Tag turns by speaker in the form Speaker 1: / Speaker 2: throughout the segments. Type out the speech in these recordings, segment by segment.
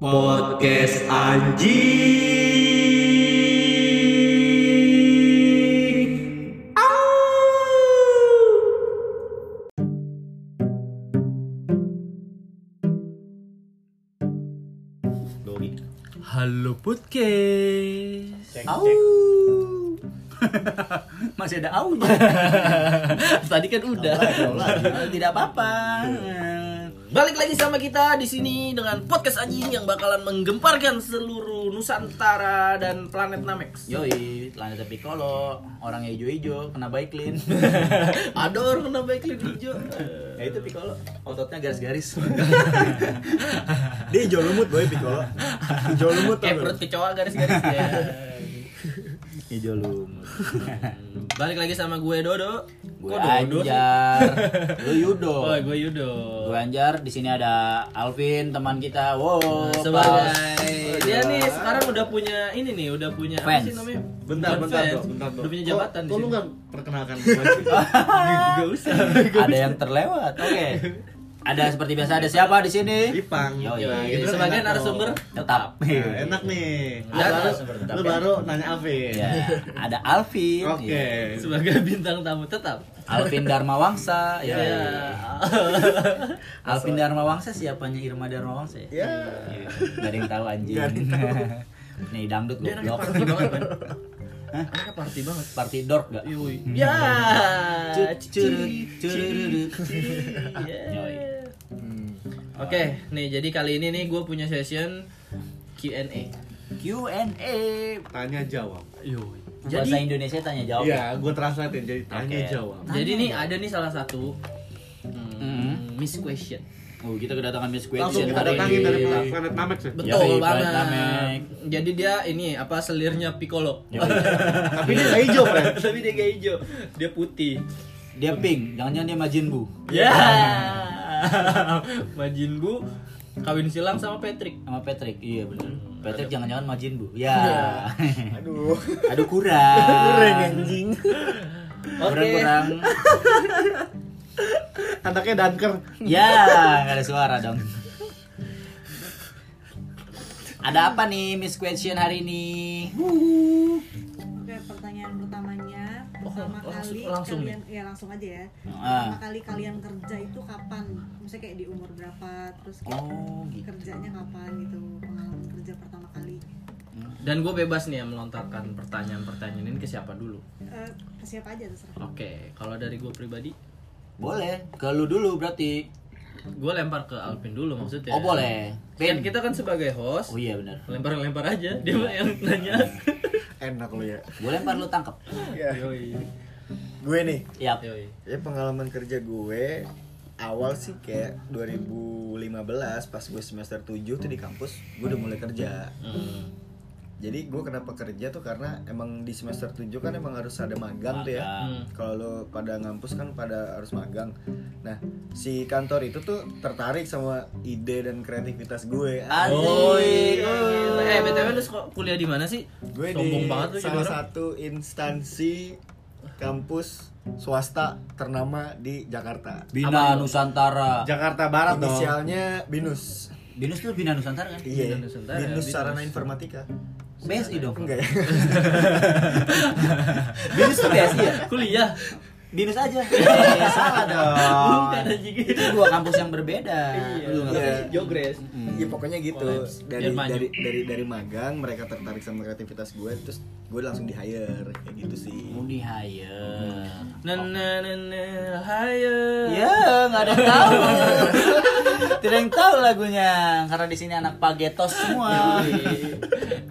Speaker 1: Podcast anjing.
Speaker 2: Halo podcast. Au. Masih ada au Tadi kan udah. Tidak apa-apa. Balik lagi sama kita di sini dengan podcast anjing yang bakalan menggemparkan seluruh Nusantara dan planet Namex.
Speaker 3: Yoi, planet Piccolo, orangnya hijau-hijau, kena baiklin.
Speaker 2: Ada orang kena baiklin hijau.
Speaker 3: ya itu Piccolo, ototnya garis-garis.
Speaker 1: Dia hijau lumut boy Piccolo. Hijau lumut
Speaker 2: Kayak
Speaker 1: tau
Speaker 2: perut
Speaker 1: gak?
Speaker 2: kecoa garis-garis ya.
Speaker 3: hijau lumut.
Speaker 2: Balik lagi sama gue Dodo.
Speaker 3: Gue
Speaker 2: Kok Dodo sih?
Speaker 3: Anjar, lu Yudo.
Speaker 2: Oh, gue Yudo.
Speaker 3: Gue Anjar, di sini ada Alvin, teman kita. Wow,
Speaker 2: sebagai dia nih sekarang udah punya ini nih udah punya apa
Speaker 3: Fans.
Speaker 2: sih namanya
Speaker 1: Bentar,
Speaker 2: Bukan
Speaker 1: bentar,
Speaker 2: fans,
Speaker 1: Dok, bentar, Dok.
Speaker 2: udah punya jabatan di
Speaker 1: Kok- Kok lu
Speaker 2: sini
Speaker 1: nggak perkenalkan gue sih? Gak usah.
Speaker 3: ada yang terlewat. Oke. Ada seperti biasa ada siapa di sini?
Speaker 1: Ipang.
Speaker 3: Yoi.
Speaker 2: Yoi,
Speaker 1: Nah, gitu kan
Speaker 2: Oh, iya, sebagai
Speaker 1: enak,
Speaker 2: narasumber
Speaker 1: Dok.
Speaker 4: Iya,
Speaker 3: Tetap.
Speaker 1: Nah, enak nih. Nah, Lu
Speaker 3: Ada
Speaker 1: baru,
Speaker 3: narasumber tetap,
Speaker 1: lu
Speaker 3: ya?
Speaker 1: baru nanya Alvin.
Speaker 3: Ya, ada Alvin.
Speaker 1: Oke.
Speaker 3: Ya.
Speaker 2: sebagai bintang tamu tetap
Speaker 3: Alvin Dharma Wangsa. Ya.
Speaker 2: ya
Speaker 1: Iya.
Speaker 3: Alvin Dharma Wangsa siapanya Irma Dharma Wangsa ya?
Speaker 1: Ya.
Speaker 3: Iya, Gak ada yang tahu anjing.
Speaker 1: Gak ada yang tahu.
Speaker 3: Nih dangdut
Speaker 2: dia anaknya
Speaker 3: goblok.
Speaker 2: party banget kan anaknya kan party banget
Speaker 3: Party dork gak?
Speaker 2: Yoi. ya
Speaker 3: Cut, curut,
Speaker 2: Ci-
Speaker 3: curururut.
Speaker 2: ci-
Speaker 3: Yoi.
Speaker 2: yeah. Hmm. oke nih jadi kali ini nih gue punya session Q&A
Speaker 3: Q&A.
Speaker 1: Tanya jawab.
Speaker 2: Yoi.
Speaker 3: Bahasa Indonesia tanya jawab.
Speaker 1: Iya, gue translatein jadi tanya
Speaker 3: Oke.
Speaker 1: jawab.
Speaker 2: Jadi nih ada nih salah satu hmm,
Speaker 3: Mm.
Speaker 2: miss question.
Speaker 3: Oh, kita kedatangan Miss Queen
Speaker 1: Langsung kita datangin dari Iya, planet Namex ya.
Speaker 2: Betul
Speaker 3: Yoi,
Speaker 2: banget.
Speaker 3: Tamek.
Speaker 2: Jadi dia ini apa selirnya Piccolo.
Speaker 3: Iya.
Speaker 1: Tapi dia nggak hijau, Fred.
Speaker 2: Tapi dia gak hijau, dia putih.
Speaker 3: Dia pink, jangan-jangan dia Majin Bu.
Speaker 2: Ya. Majin Bu kawin silang sama Patrick.
Speaker 3: Sama Patrick. Iya benar.
Speaker 4: Hmm.
Speaker 3: Patrick jangan-jangan Majin Bu. Ya.
Speaker 4: Iya.
Speaker 1: Aduh.
Speaker 3: Aduh kurang.
Speaker 1: Keren anjing.
Speaker 3: Kurang kurang.
Speaker 1: Anaknya danker.
Speaker 3: Ya, nggak ada suara dong. Ada apa nih Miss Question hari ini?
Speaker 5: Oke, pertanyaan pertamanya pertama
Speaker 2: Oh, langsung-
Speaker 5: kali
Speaker 2: langsung
Speaker 5: kalian ya langsung aja ya.
Speaker 3: Ah.
Speaker 5: Pertama kali kalian kerja itu kapan? Maksudnya kayak di umur berapa? Terus kayak
Speaker 3: Oh, gitu.
Speaker 5: kerjanya kapan gitu? Pengalaman kerja pertama kali.
Speaker 2: Dan gue bebas nih ya melontarkan pertanyaan-pertanyaan ini ke siapa dulu.
Speaker 5: Eh, ke siapa aja terserah.
Speaker 2: Oke, kalau dari gue pribadi,
Speaker 3: Boleh, ke lu dulu berarti.
Speaker 2: gue lempar ke Alvin dulu
Speaker 4: Ya.
Speaker 2: maksudnya.
Speaker 3: Oh, boleh.
Speaker 2: Kan
Speaker 3: Pin.
Speaker 2: kita kan sebagai host,
Speaker 3: Oh iya benar.
Speaker 2: lempar-lempar aja. Dia mah yang nanya.
Speaker 4: enak lu ya
Speaker 3: Gue lempar lu tangkap.
Speaker 4: ya
Speaker 2: Yoi.
Speaker 4: gue nih
Speaker 3: Yap.
Speaker 2: Yoi.
Speaker 4: ya pengalaman kerja gue awal sih kayak 2015 pas gue semester 7 tuh di kampus gue udah mulai kerja
Speaker 2: Hmm.
Speaker 4: jadi gue kenapa kerja tuh karena emang di semester 7 kan emang harus ada magang tuh ya
Speaker 2: Hmm.
Speaker 3: Magang.
Speaker 4: kalau lu pada ngampus kan pada harus magang nah si kantor itu tuh tertarik sama ide dan kreativitas gue
Speaker 3: Asik.
Speaker 2: Eh, BTW lu suka kuliah di mana sih?
Speaker 4: gue
Speaker 2: Sombong
Speaker 4: di
Speaker 2: banget lu jadi
Speaker 4: salah
Speaker 2: orang.
Speaker 4: satu instansi kampus swasta ternama di Jakarta
Speaker 3: Bina Nusantara.
Speaker 1: Jakarta Barat dong.
Speaker 4: Inisialnya Binus.
Speaker 3: Binus tuh Bina Nusantara kan?
Speaker 4: Iya.
Speaker 2: Binus
Speaker 4: Binus,
Speaker 2: Nusantara, Binus.
Speaker 4: Sarana Informatika.
Speaker 3: BSI dong.
Speaker 4: Enggak ya?
Speaker 3: Binus tuh BSI ya?
Speaker 2: Kuliah.
Speaker 3: Binus aja.
Speaker 2: Iya,
Speaker 3: Eh, salah
Speaker 1: Ah.
Speaker 3: dong.
Speaker 2: Bukan anjing.
Speaker 3: Itu dua kampus yang berbeda. Lu nggak
Speaker 4: Iya.
Speaker 3: tahu.
Speaker 2: Jogres.
Speaker 4: Iya pokoknya gitu.
Speaker 2: Kolaps. Biar
Speaker 4: Dari
Speaker 2: maju.
Speaker 4: dari dari dari magang mereka tertarik sama kreativitas gue terus gue langsung di hire kayak gitu sih.
Speaker 3: Mau di hire.
Speaker 2: Na na na na hayo.
Speaker 4: Iya.
Speaker 3: Ya, nggak ada yang tahu. Tidak ada yang tahu lagunya karena di sini anak pagetos semua.
Speaker 2: Iya.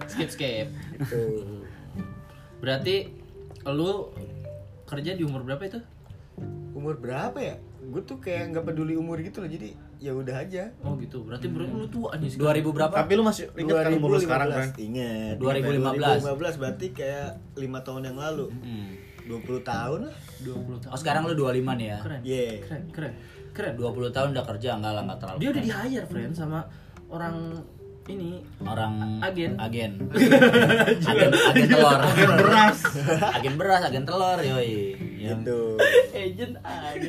Speaker 2: Skip skip.
Speaker 4: Gitu.
Speaker 2: Berarti lu kerja di umur berapa itu?
Speaker 4: Umur berapa ya? Gue tuh kayak nggak peduli umur gitu loh. Jadi ya udah aja.
Speaker 2: Oh gitu. Berarti berarti lu tua nih sekarang.
Speaker 3: 2000 berapa?
Speaker 1: Tapi lu masih ingat kan umur lu sekarang kan?
Speaker 4: Ingat.
Speaker 3: 2015.
Speaker 4: 2015 berarti kayak 5 tahun yang lalu.
Speaker 3: Hmm.
Speaker 4: 20 tahun lah.
Speaker 2: 20 tahun.
Speaker 3: Oh sekarang lu 25 nih ya?
Speaker 2: ah, Keren.
Speaker 4: Yeah.
Speaker 2: Keren, keren. Keren.
Speaker 3: 20 tahun udah kerja enggak lah enggak terlalu.
Speaker 2: Dia udah di hire friend sama orang ini
Speaker 3: orang
Speaker 2: Agen.
Speaker 3: agen agen agen telur agen beras agen beras agen telur yoi Yang-
Speaker 4: Gitu.
Speaker 2: agent aja.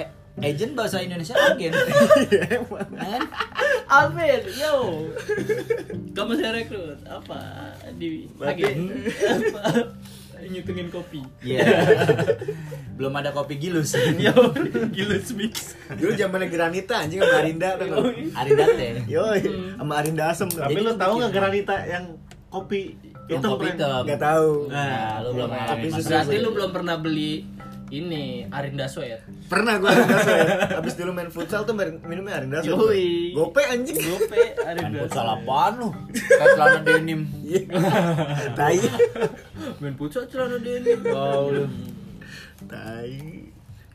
Speaker 3: eh, agent bahasa Indonesia agen kan
Speaker 2: Alvin, yo. Kamu saya rekrut apa di
Speaker 6: Berarti-
Speaker 2: lagi ya? apa? nyutungin kopi.
Speaker 3: Iya. Belum ada kopi gilus.
Speaker 4: Iya.
Speaker 2: Yo, gilus mix.
Speaker 6: Dulu zamannya Granita anjing sama Arinda tuh.
Speaker 4: Oh,
Speaker 6: kan.
Speaker 4: iya.
Speaker 3: Aridate.
Speaker 6: Yoi,
Speaker 4: Hmm.
Speaker 6: sama Arinda Asem tuh.
Speaker 4: Tapi
Speaker 3: Jadi lu
Speaker 4: lo tahu
Speaker 3: bikin-
Speaker 4: nggak granita yang kopi
Speaker 3: Yang
Speaker 4: hitam? Iya.
Speaker 3: kopi
Speaker 4: Frank?
Speaker 3: hitam.
Speaker 6: Enggak tahu.
Speaker 3: Nah, lu belum
Speaker 6: Tapi
Speaker 3: ngalamin
Speaker 6: susah
Speaker 3: masalah.
Speaker 2: Berarti lu belum pernah beli ini Arinda Sweat.
Speaker 6: Pernah gua Arinda Asem. Abis dulu main futsal tuh mer- minumnya Arinda Asem.
Speaker 2: Yoi.
Speaker 6: Gope anjing.
Speaker 2: Gope
Speaker 3: Main
Speaker 2: Arinda.
Speaker 3: futsal Kan apaan lu?
Speaker 4: Kan
Speaker 3: Kayak celana denim.
Speaker 6: Tai.
Speaker 2: Main pucat celana denim.
Speaker 3: Wow, lu.
Speaker 6: Tai.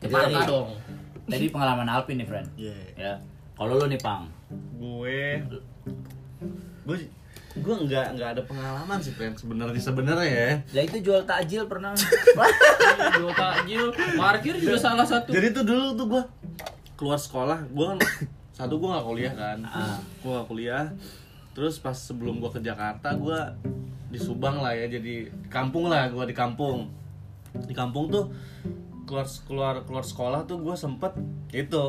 Speaker 2: Kepala dong.
Speaker 3: Tadi pengalaman Alvin nih, friend.
Speaker 6: Iya.
Speaker 3: Ya. Kalau lu nih, Pang.
Speaker 4: gue gue gue nggak nggak ada pengalaman sih Pren sebenarnya sebenarnya ya
Speaker 3: Lah itu jual takjil pernah. Nah,
Speaker 2: Jual takjil, parkir juga salah satu.
Speaker 4: jadi tuh dulu tuh gue keluar sekolah gue kan satu gue nggak kuliah kan
Speaker 3: Ah.
Speaker 4: gue nggak kuliah terus pas sebelum gue ke Jakarta gue di Subang lah ya jadi kampung lah gue di kampung di kampung tuh keluar keluar keluar sekolah tuh gue sempet itu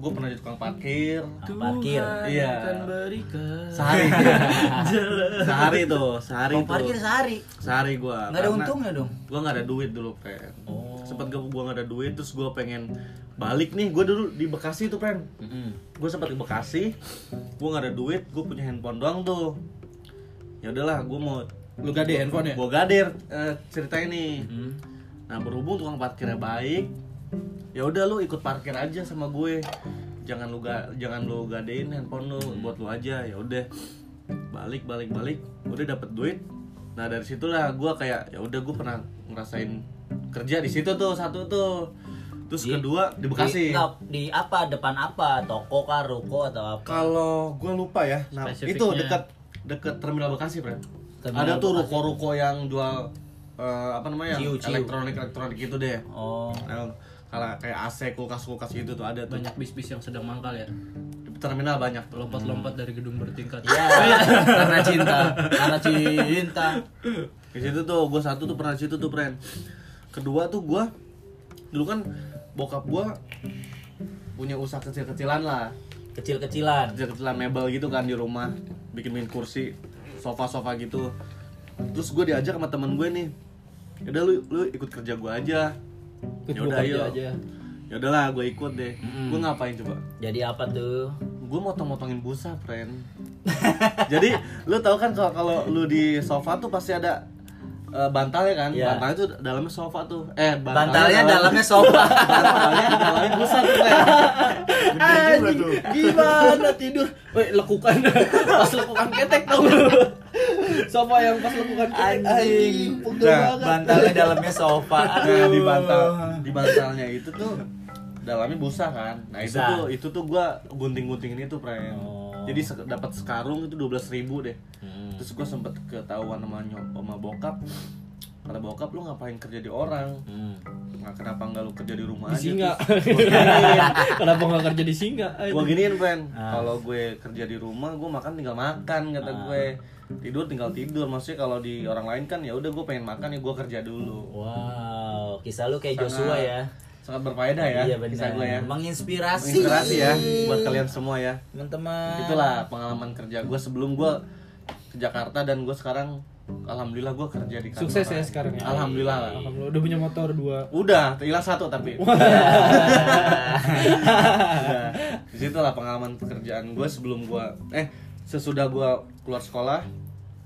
Speaker 4: gue pernah jadi tukang parkir
Speaker 3: Ah. parkir.
Speaker 4: Iya.
Speaker 2: akan Kan berikan.
Speaker 4: sehari sehari tuh sehari
Speaker 3: Mau
Speaker 4: tuh.
Speaker 3: parkir sehari.
Speaker 4: sehari gue
Speaker 3: Enggak ada untungnya dong.
Speaker 4: gue nggak ada duit dulu Pren sempat gue gua nggak ada duit terus gue pengen balik nih gue dulu di Bekasi tuh Pren gue sempat di Bekasi gue nggak ada duit gue punya handphone doang tuh ya udahlah gue mau
Speaker 2: Lu gak ada handphone ya?
Speaker 4: gue gadir eh, cerita
Speaker 3: Hmm.
Speaker 4: ini nah berhubung tukang parkirnya baik ya udah lu ikut parkir aja sama gue jangan lu ga, jangan lu gadein handphone lu
Speaker 3: Hmm.
Speaker 4: buat lu aja ya udah balik balik balik udah dapet duit nah dari situlah gue kayak ya udah gue pernah ngerasain kerja di situ tuh satu tuh terus
Speaker 3: Di-
Speaker 4: kedua di
Speaker 3: Di,
Speaker 4: Bekasi
Speaker 3: nggak, di apa? Depan apa? Toko kah, ruko atau apa?
Speaker 4: Kalau gue lupa ya, nah itu
Speaker 2: Spesifiknya.
Speaker 4: dekat dekat terminal Bekasi, Bro.
Speaker 3: Terminal
Speaker 4: Ada tuh
Speaker 3: Bekasi.
Speaker 4: ruko-ruko yang jual eh, apa namanya?
Speaker 3: Ciu, ciu.
Speaker 4: elektronik elektronik gitu deh.
Speaker 3: Oh.
Speaker 4: Nah, Kalau kayak AC, kulkas-kulkas gitu tuh ada tuh.
Speaker 2: Banyak bis-bis yang sedang mangkal ya.
Speaker 4: Di terminal banyak tuh.
Speaker 2: Lompat-lompat dari gedung bertingkat.
Speaker 3: Ya,
Speaker 4: Oh, iya.
Speaker 3: karena cinta, karena cinta.
Speaker 4: Di situ tuh gue satu tuh pernah di situ tuh, Pren. Kedua tuh gue dulu kan bokap gue punya usaha kecil-kecilan lah.
Speaker 3: Kecil-kecilan.
Speaker 4: kecil-kecilan mebel gitu kan di rumah bikin-bikin kursi sofa-sofa gitu terus gue diajak sama temen gue nih yaudah lu lu ikut kerja gue aja
Speaker 2: Ikut
Speaker 4: yaudah
Speaker 2: gua kerja
Speaker 4: ayo
Speaker 2: aja.
Speaker 4: yaudah lah gue ikut deh gue ngapain coba
Speaker 3: Jadi apa tuh?
Speaker 4: gue motong-motongin busa friend jadi lu tau kan kalau kalau lu di sofa tuh pasti ada eh, bantalnya kan
Speaker 3: Iya.
Speaker 4: bantalnya tuh dalamnya sofa tuh eh
Speaker 3: Bantalnya dalamnya sofa.
Speaker 4: bantalnya dalamnya busa Nah, tuh friend
Speaker 6: Gede juga tuh.
Speaker 2: Gimana tidur? Woi, lekukan. Pas lekukan ketek tau lu. Sofa yang pas lekukan ketek.
Speaker 3: Anjing.
Speaker 2: pegel
Speaker 4: Nah,
Speaker 2: banget.
Speaker 3: Bantalnya dalamnya sofa.
Speaker 4: Nah,
Speaker 3: Aduh.
Speaker 4: di bantal di bantalnya itu tuh dalamnya busa kan. Nah, itu
Speaker 3: Busa.
Speaker 4: tuh itu tuh gua gunting-guntingin itu, Pren.
Speaker 3: Oh. Hmm.
Speaker 4: Jadi se- dapat sekarung itu 12.000 deh. Terus gua sempet ketahuan sama nyok sama bokap. Kata bokap lu ngapain kerja di orang?
Speaker 3: Hmm.
Speaker 4: Nah, kenapa nggak lu kerja di
Speaker 2: Di
Speaker 4: rumah aja?
Speaker 2: singa.
Speaker 4: Terus gua giniin.
Speaker 2: Kenapa nggak kerja di singa? Ayo.
Speaker 4: Gua giniin, Pren.
Speaker 3: Ah.
Speaker 4: Kalau gue kerja di rumah, gua makan tinggal makan kata gue. Tidur tinggal tidur. Maksudnya kalau di orang lain kan ya udah gua pengen makan ya gua kerja dulu.
Speaker 3: Wow, kisah lu kayak
Speaker 4: Sangat-
Speaker 3: Joshua ya.
Speaker 4: Sangat berfaedah ya
Speaker 3: iya
Speaker 4: kisah
Speaker 3: benar.
Speaker 4: gue ya.
Speaker 3: Menginspirasi.
Speaker 4: inspirasi ya buat kalian semua ya
Speaker 3: Teman-teman.
Speaker 4: itulah pengalaman kerja gue sebelum gue ke Jakarta dan gue sekarang alhamdulillah gue kerja di kantor
Speaker 7: Sukses ya sekarang ya.
Speaker 4: alhamdulillah lah.
Speaker 7: Alhamdulillah udah punya motor dua.
Speaker 4: udah hilang satu tapi Udah. disitulah pengalaman pekerjaan gue sebelum gue eh sesudah gue keluar sekolah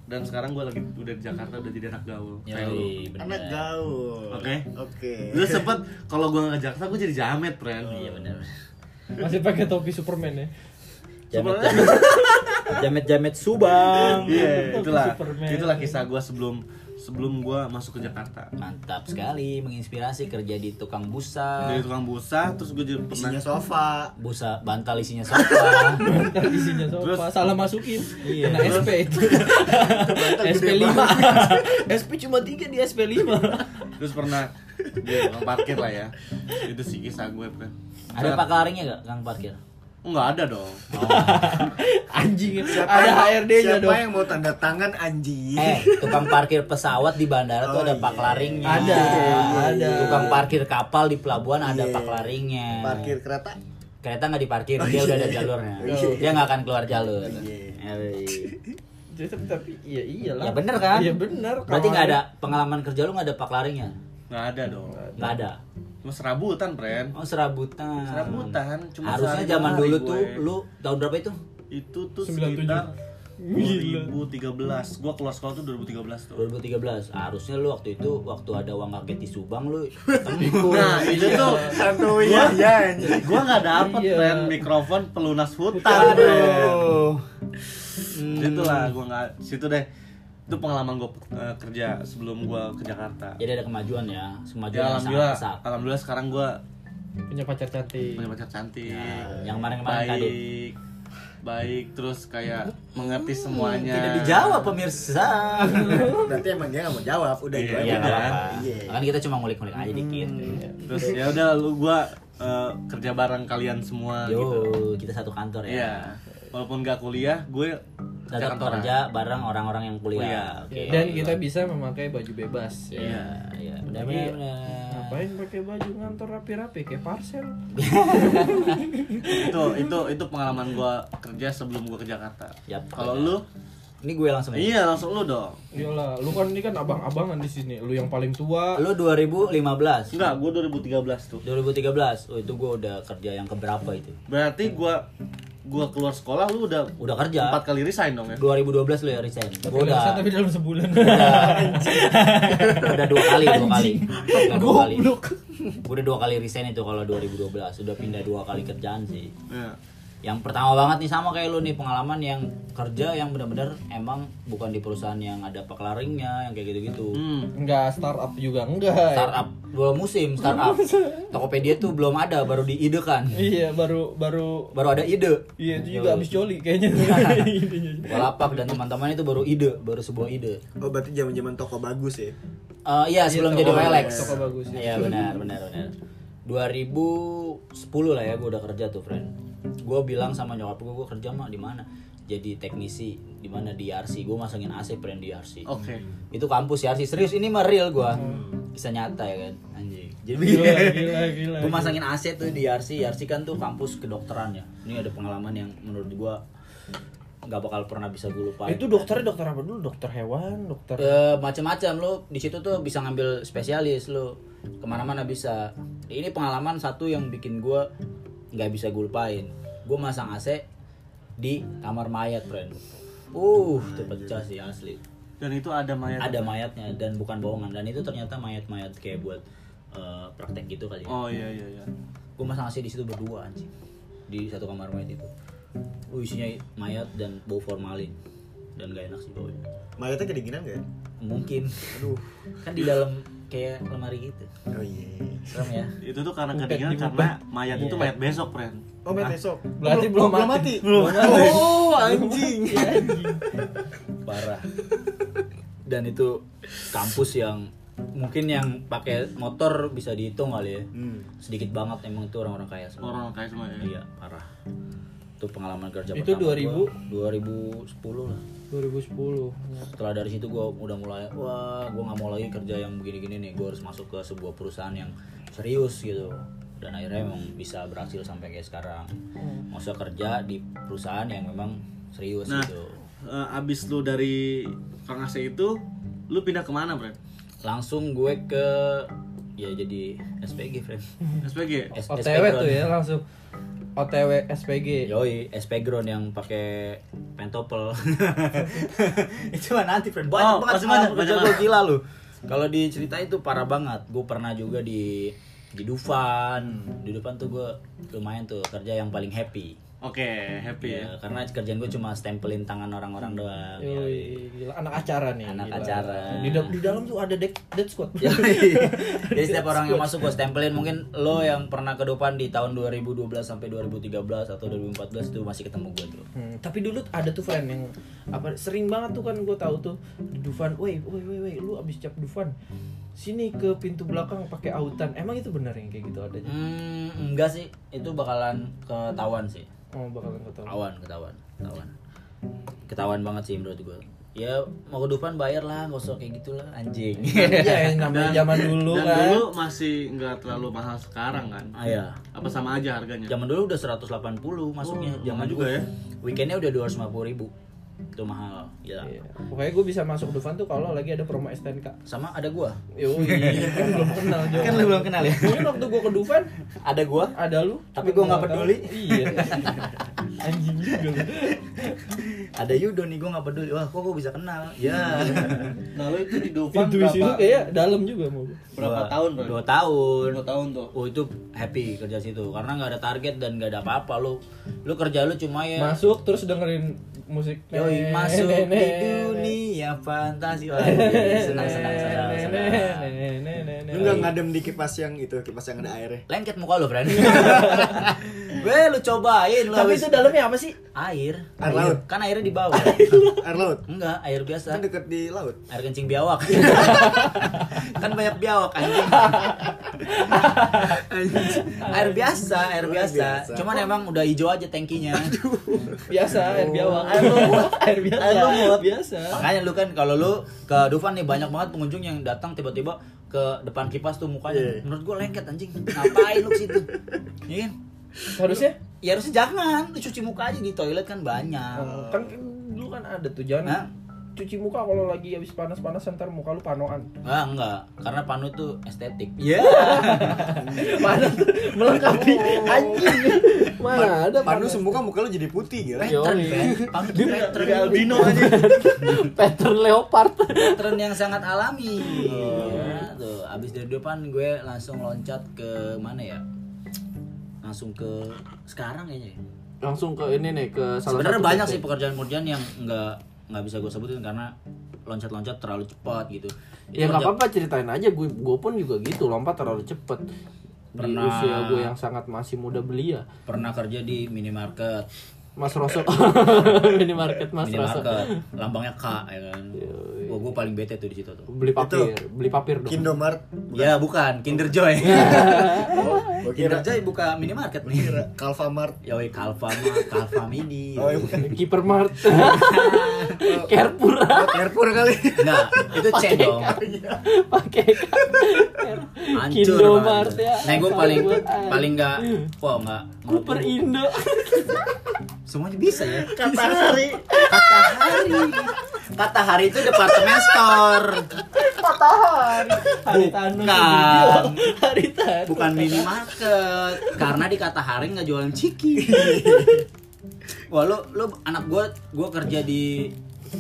Speaker 4: dan sekarang gue lagi udah di Jakarta udah jadi anak gaul kayak lu
Speaker 3: Yoi, benar.
Speaker 6: Anak gaul.
Speaker 4: Oke.
Speaker 6: Oke.
Speaker 4: lu sempet kalau gue nggak ke Jakarta gue jadi jamet friend
Speaker 3: Iya benar.
Speaker 7: Masih pakai topi Superman ya.
Speaker 3: Jamet-jamet. Jamet-jamet Subang.
Speaker 4: Iya, itulah
Speaker 7: Superman.
Speaker 4: itulah kisah gue sebelum sebelum gue masuk ke Jakarta
Speaker 3: Mantap sekali, menginspirasi kerja di tukang busa.
Speaker 4: dari tukang busa terus gue jadi
Speaker 6: Isinya
Speaker 4: pernah
Speaker 6: sofa.
Speaker 3: Busa bantal isinya sofa.
Speaker 7: Ntar isinya sofa.
Speaker 4: Terus-
Speaker 7: salah masukin.
Speaker 3: Iya.
Speaker 7: Kena SP itu.
Speaker 2: SP5. SP cuma 3 di SP5.
Speaker 4: terus pernah di tukang parkir lah ya itu sih kisah gue Pren.
Speaker 3: Ada pak laringnya gak, Kang Parkir?
Speaker 4: nggak ada dong
Speaker 2: Anjing.
Speaker 6: Siapa
Speaker 2: Ada
Speaker 6: yang-
Speaker 2: HRD-nya
Speaker 6: Siapa
Speaker 2: dong.
Speaker 6: yang mau tanda tangan anjing?
Speaker 3: Eh, tukang parkir pesawat di bandara tuh
Speaker 6: Iya. Oh,
Speaker 3: ada
Speaker 6: iya.
Speaker 3: pak laringnya.
Speaker 7: Ada,
Speaker 3: Tukang parkir kapal di pelabuhan ada
Speaker 6: Iya.
Speaker 3: pak laringnya.
Speaker 6: Parkir Oh, iya. kereta.
Speaker 3: kereta nggak diparkir dia udah ada jalurnya
Speaker 6: iya.
Speaker 3: dia nggak akan keluar jalur Yoi.
Speaker 7: Jadi, tapi, tapi iya iyalah
Speaker 3: ya bener kan
Speaker 7: iya bener
Speaker 3: berarti
Speaker 7: kawan.
Speaker 3: nggak ada pengalaman kerja lu nggak ada pak laringnya
Speaker 1: nggak ada dong
Speaker 3: nggak ada
Speaker 1: cuma serabutan friend
Speaker 3: oh serabutan
Speaker 1: Serabutan, cuma
Speaker 3: harusnya
Speaker 1: sehari
Speaker 3: zaman
Speaker 1: dua hari
Speaker 3: dulu
Speaker 1: gue.
Speaker 3: tuh lu tahun berapa itu
Speaker 1: itu tuh
Speaker 7: 97.
Speaker 1: sekitar
Speaker 7: Gila.
Speaker 1: 2013 gua keluar sekolah tuh 2013 tuh
Speaker 3: 2013 harusnya lu waktu itu waktu ada uang kaget di Subang lu ketemu
Speaker 1: nah itu tuh
Speaker 4: Satu ya,
Speaker 1: gua nggak dapet
Speaker 7: Iya.
Speaker 1: friend mikrofon pelunas hutan friend.
Speaker 3: aduh
Speaker 7: Hmm.
Speaker 1: itulah gua nggak situ deh itu pengalaman gua eh, kerja sebelum gua ke Jakarta
Speaker 3: jadi ada kemajuan ya kemajuan yang sangat
Speaker 1: ya alhamdulillah
Speaker 3: pesat
Speaker 1: alhamdulillah sekarang gua
Speaker 7: punya pacar cantik
Speaker 1: punya pacar cantik
Speaker 3: Ya, yang kemarin-kemarin tadi
Speaker 1: baik baik terus kayak mengerti semuanya
Speaker 3: tidak dijawab pemirsa
Speaker 4: Berarti emang dia nggak mau jawab, udah itu
Speaker 1: Iya,
Speaker 4: aja.
Speaker 3: Iya nggak apa-apa
Speaker 4: Iya.
Speaker 3: kan kita cuma ngulik-ngulik aja dikit
Speaker 7: Hmm. Iya.
Speaker 1: terus ya udah lu gua eh, kerja bareng kalian semua
Speaker 3: yo
Speaker 1: gitu
Speaker 3: kita satu kantor ya
Speaker 1: Iya. Walaupun gak kuliah, gue
Speaker 3: Tetap
Speaker 1: kantoran.
Speaker 3: kerja bareng orang-orang yang kuliah.
Speaker 1: Kuliah.
Speaker 3: Oke.
Speaker 7: dan kita bisa memakai baju bebas ya.
Speaker 3: Iya, iya. Udah
Speaker 7: Jadi,
Speaker 3: benar.
Speaker 7: ngapain pakai baju ngantor rapi-rapi kayak parcel
Speaker 1: Itu itu itu pengalaman gue kerja sebelum gue ke Jakarta.
Speaker 3: Yap.
Speaker 1: Kalau lu?
Speaker 3: Ini gue langsung ya. aja.
Speaker 1: Iya, langsung lu dong.
Speaker 7: iyalah lu kan ini kan abang-abangan di sini lu yang paling tua
Speaker 3: Lu 2015.
Speaker 1: Enggak, gue 2013 tuh.
Speaker 3: 2013. Oh, itu gue udah kerja yang keberapa itu?
Speaker 1: Berarti gue gue keluar sekolah lu udah
Speaker 3: Udah kerja.
Speaker 1: empat kali resign dong ya.
Speaker 3: 2012 lu ya resign. Gue udah
Speaker 7: tapi dalam sebulan
Speaker 3: udah dua kali, dua kali. Udah dua kali. Gue udah dua kali resign itu kalau 2012. Udah pindah dua kali kerjaan sih.
Speaker 1: Iya.
Speaker 3: Yang pertama banget nih sama kayak lu nih pengalaman yang kerja yang benar-benar emang bukan di perusahaan yang ada paklaringnya yang kayak gitu-gitu.
Speaker 1: Hmm.
Speaker 7: enggak startup juga enggak
Speaker 3: startup dua musim startup Tokopedia tuh belum ada baru diidekan
Speaker 7: iya baru baru
Speaker 3: baru ada ide
Speaker 7: iya itu juga abis joli kayaknya Intinya.
Speaker 3: Balapak dan teman-teman itu baru ide baru sebuah ide
Speaker 4: Oh berarti zaman-zaman toko bagus ya.
Speaker 3: Eh iya sebelum jadi
Speaker 7: toko
Speaker 3: Welex
Speaker 7: bagus, toko bagus,
Speaker 3: iya benar benar benar 2010 lah ya gue udah kerja tuh friend gue bilang sama nyokap gue gue kerja mah di mana jadi teknisi di mana di RC gue masangin AC friend di RC
Speaker 1: Oke.
Speaker 3: itu kampus ya RC serius ini mah real gue bisa nyata ya kan anjing jadi
Speaker 7: gila
Speaker 3: begini
Speaker 7: gila gila
Speaker 3: gue masangin AC tuh di RC RC kan tuh kampus kedokteran ya ini ada pengalaman yang menurut gua nggak bakal pernah bisa gue lupa
Speaker 7: itu dokternya dokter apa dulu dokter hewan dokter
Speaker 3: macam-macam lo di situ tuh bisa ngambil spesialis lo kemana-mana bisa ini pengalaman satu yang bikin gua nggak bisa gue lupain gue masang AC di kamar mayat friend uh itu pecah sih asli
Speaker 1: Dan itu ada mayat.
Speaker 3: ada mayatnya dan bukan bohongan dan itu ternyata mayat-mayat kayak buat eh, praktek gitu kali ya
Speaker 1: Oh iya iya iya.
Speaker 3: gue masang AC di situ berdua anjing di satu kamar mayat itu oh, isinya mayat dan bau formalin dan gak enak sih baunya
Speaker 4: Mayatnya kedinginan nggak? ya?
Speaker 3: mungkin aduh kan di dalam kayak lemari gitu
Speaker 4: Oh iya.
Speaker 3: serem ya
Speaker 1: Itu tuh karena kedinginan karena mayat
Speaker 3: Iya.
Speaker 1: itu mayat besok, friend.
Speaker 4: Oh
Speaker 7: Ah.
Speaker 4: mayat besok.
Speaker 7: Berarti belum mati.
Speaker 4: Belum. Oh anjing.
Speaker 3: parah dan itu kampus yang mungkin yang pakai motor bisa dihitung kali ya
Speaker 4: Hmm.
Speaker 3: sedikit banget emang tuh orang-orang kaya semua
Speaker 1: Orang kayak semua ya.
Speaker 3: iya parah itu pengalaman kerja
Speaker 7: Itu
Speaker 3: pertama
Speaker 7: 2000?
Speaker 3: gua. 2010 lah
Speaker 7: 2010
Speaker 3: setelah dari situ gue udah mulai wah gue nggak mau lagi kerja yang begini-gini nih gue harus masuk ke sebuah perusahaan yang serius gitu dan akhirnya emang bisa berhasil sampai kayak sekarang masa kerja di perusahaan yang memang serius
Speaker 1: Nah.
Speaker 3: gitu
Speaker 1: Eh, abis lu dari Kang Aceh itu, lu pindah kemana, friend?
Speaker 3: langsung gue ke ya jadi SPG friend
Speaker 1: SPG.
Speaker 3: S-
Speaker 7: OTW
Speaker 3: SPG.
Speaker 7: tuh ya langsung OTW SPG
Speaker 3: Yoi, SP ground yang pakai pentopel. itu mah nanti friend. Banyak
Speaker 1: Oh,
Speaker 3: banget
Speaker 1: masih
Speaker 3: pengalaman
Speaker 1: banyak,
Speaker 3: kerja
Speaker 1: banyak
Speaker 3: gua, gila lu. Kalau dicerita itu parah banget. Gue pernah juga di di Dufan. Di Dufan tuh gue lumayan tuh kerja yang paling happy.
Speaker 1: Oke, happy ya.
Speaker 3: Ya, karena kerjaan gue cuma stempelin tangan orang-orang doang.
Speaker 7: Yoi, gila anak acara nih.
Speaker 3: Anak
Speaker 7: gila.
Speaker 3: acara.
Speaker 7: Di, dal- di dalam tuh ada dead, dead squad.
Speaker 3: Yoi. Jadi setiap orang yang masuk gue stempelin mungkin lo yang pernah ke Dufan di tahun 2012 sampai 2013 atau 2014 tuh masih ketemu gue tuh.
Speaker 7: Hmm, tapi dulu ada tuh friend yang apa sering banget tuh kan gue tahu tuh di Dufan, woi, woi, woi, woi, lu abis cap Dufan, sini ke pintu belakang pakai autan. Emang itu benar yang kayak gitu adanya?
Speaker 3: Hmm, enggak sih, itu bakalan ketahuan sih.
Speaker 7: Oh bakalan ketahuan.
Speaker 3: Ketahuan, ketahuan, ketahuan. Ketahuan banget sih menurut gue. ya mau ke Dufan bayar lah nggak usah kayak gitulah anjing
Speaker 7: Iya, yang namanya zaman dulu
Speaker 1: dan
Speaker 7: kan.
Speaker 1: dulu masih nggak terlalu mahal sekarang kan
Speaker 3: ah ya
Speaker 1: apa sama aja harganya
Speaker 3: zaman dulu udah 180 masuknya
Speaker 1: Oh,
Speaker 3: zaman
Speaker 1: mahal juga
Speaker 3: dulu.
Speaker 1: ya.
Speaker 3: weekendnya udah 250 ribu itu mahal ya
Speaker 7: Iya. Pokoknya gue bisa masuk Dufan tuh kalau lagi ada promo STNK.
Speaker 3: sama ada gua
Speaker 7: Yo, kan belum kenal Jo.
Speaker 3: kan lu belum kenal ya
Speaker 7: Mungkin waktu gue ke Dufan
Speaker 3: ada gua
Speaker 7: ada lu.
Speaker 3: Tapi gua nggak
Speaker 7: tahu.
Speaker 3: peduli.
Speaker 7: Iya. Anjing juga. lu.
Speaker 3: ada Yudo nih gua nggak peduli wah kok gua bisa kenal ya
Speaker 1: nah lo itu di iya. Dufan
Speaker 7: Intuisi lu
Speaker 1: berapa
Speaker 7: kayak dalam juga mau.
Speaker 1: berapa
Speaker 3: Dua-
Speaker 1: tahun bro?
Speaker 3: dua tahun
Speaker 1: dua tahun tuh
Speaker 3: Oh itu happy kerja situ karena nggak ada target dan nggak ada apa-apa lu lu kerja lu cuma ya
Speaker 7: Masuk terus dengerin musik.
Speaker 3: Yoi, masuk
Speaker 7: Nenek,
Speaker 3: di
Speaker 7: nenek,
Speaker 3: dunia fantasi Wah, iya, senang senang senang
Speaker 7: nenek,
Speaker 3: senang
Speaker 7: nenek, nenek, nenek.
Speaker 4: Lu nggak ngadem di kipas yang itu, kipas yang ada airnya.
Speaker 3: lengket muka lu berani weh lu cobain lu
Speaker 7: Tapi
Speaker 3: habis-
Speaker 7: itu dalamnya apa sih?
Speaker 3: air
Speaker 4: Air laut.
Speaker 3: kan airnya di bawah
Speaker 4: Air laut.
Speaker 3: enggak air biasa
Speaker 4: Kan deket di laut.
Speaker 3: air kencing biawak kan banyak biawak anjing Anjing. air biasa air
Speaker 4: Air
Speaker 3: biasa
Speaker 4: biasa.
Speaker 3: cuman emang udah hijau aja tangkinya
Speaker 7: Biasa, air biawak.
Speaker 3: Air lumut.
Speaker 7: air biasa.
Speaker 3: Air lumut.
Speaker 7: Biasa.
Speaker 3: makanya lu kan kalau lu ke Dufan nih banyak banget pengunjung yang datang tiba-tiba ke depan kipas tuh mukanya
Speaker 4: Iya.
Speaker 3: menurut gua lengket anjing ngapain lu ke situ Iya kan?
Speaker 7: Harusnya
Speaker 3: ya harusnya jangan lu cuci muka aja di toilet kan banyak
Speaker 7: kan dulu kan ada tuh jangan
Speaker 3: Hah?
Speaker 7: cuci muka kalau lagi habis panas-panasan ntar muka lu panoan.
Speaker 3: Enggak, enggak. Karena panu itu estetik. Iya.
Speaker 7: Panas tuh melengkapi anjing. Mana ada
Speaker 4: Pandu semuka muka lu jadi putih gila.
Speaker 3: Pattern,
Speaker 7: Yoi.
Speaker 3: Ben. Panu itu pattern.
Speaker 1: albino aja
Speaker 7: pattern leopard.
Speaker 3: Pattern yang sangat alami. Ya, tuh, abis dari depan gue langsung loncat ke mana ya? Langsung ke sekarang kayaknya. ya.
Speaker 7: Langsung ke ini nih ke salah
Speaker 3: Sebenarnya
Speaker 7: satu
Speaker 3: banyak
Speaker 7: PT.
Speaker 3: sih pekerjaan-pekerjaan yang enggak nggak bisa gue sebutin karena loncat-loncat terlalu cepat gitu.
Speaker 7: Ya
Speaker 3: Itu
Speaker 7: nggak
Speaker 3: kerja-
Speaker 7: apa-apa ceritain aja gue gue pun juga gitu lompat terlalu cepet di
Speaker 3: Pernah.
Speaker 7: usia gue yang sangat masih muda belia
Speaker 3: Pernah kerja di minimarket.
Speaker 7: Mas Rosso minimarket Mas Rosso
Speaker 3: minimarket lambangnya K ya kan. Gue gue paling bete tuh di situ tuh.
Speaker 7: beli papir beli papir dong
Speaker 4: Kindomart.
Speaker 3: Ya bukan Kinder Joy.
Speaker 4: Gua
Speaker 3: Kinder
Speaker 4: kira
Speaker 3: Joy buka minimarket nih.
Speaker 4: kira Calvamart.
Speaker 3: Yoi Kalfa mah Kalfa Mini.
Speaker 4: Oh, iya, bukan.
Speaker 7: kiper mart Carrefour
Speaker 4: Oh, Carrefour kali.
Speaker 3: Nah, itu C dong.
Speaker 4: iya.
Speaker 7: pakai
Speaker 3: Hancur
Speaker 7: Kindomart
Speaker 3: banget.
Speaker 7: ya.
Speaker 3: Nah, gue paling
Speaker 7: Sabutan.
Speaker 3: paling enggak kok enggak
Speaker 7: Cooper Indo
Speaker 3: Semuanya bisa ya.
Speaker 1: kata hari
Speaker 3: Kata hari. Kata hari itu departemen store. Bukan.
Speaker 7: hari tadi
Speaker 3: Bukan minimarket. Karena di Kata hari nggak jualan ciki. Wah, lo lo anak gue gue kerja di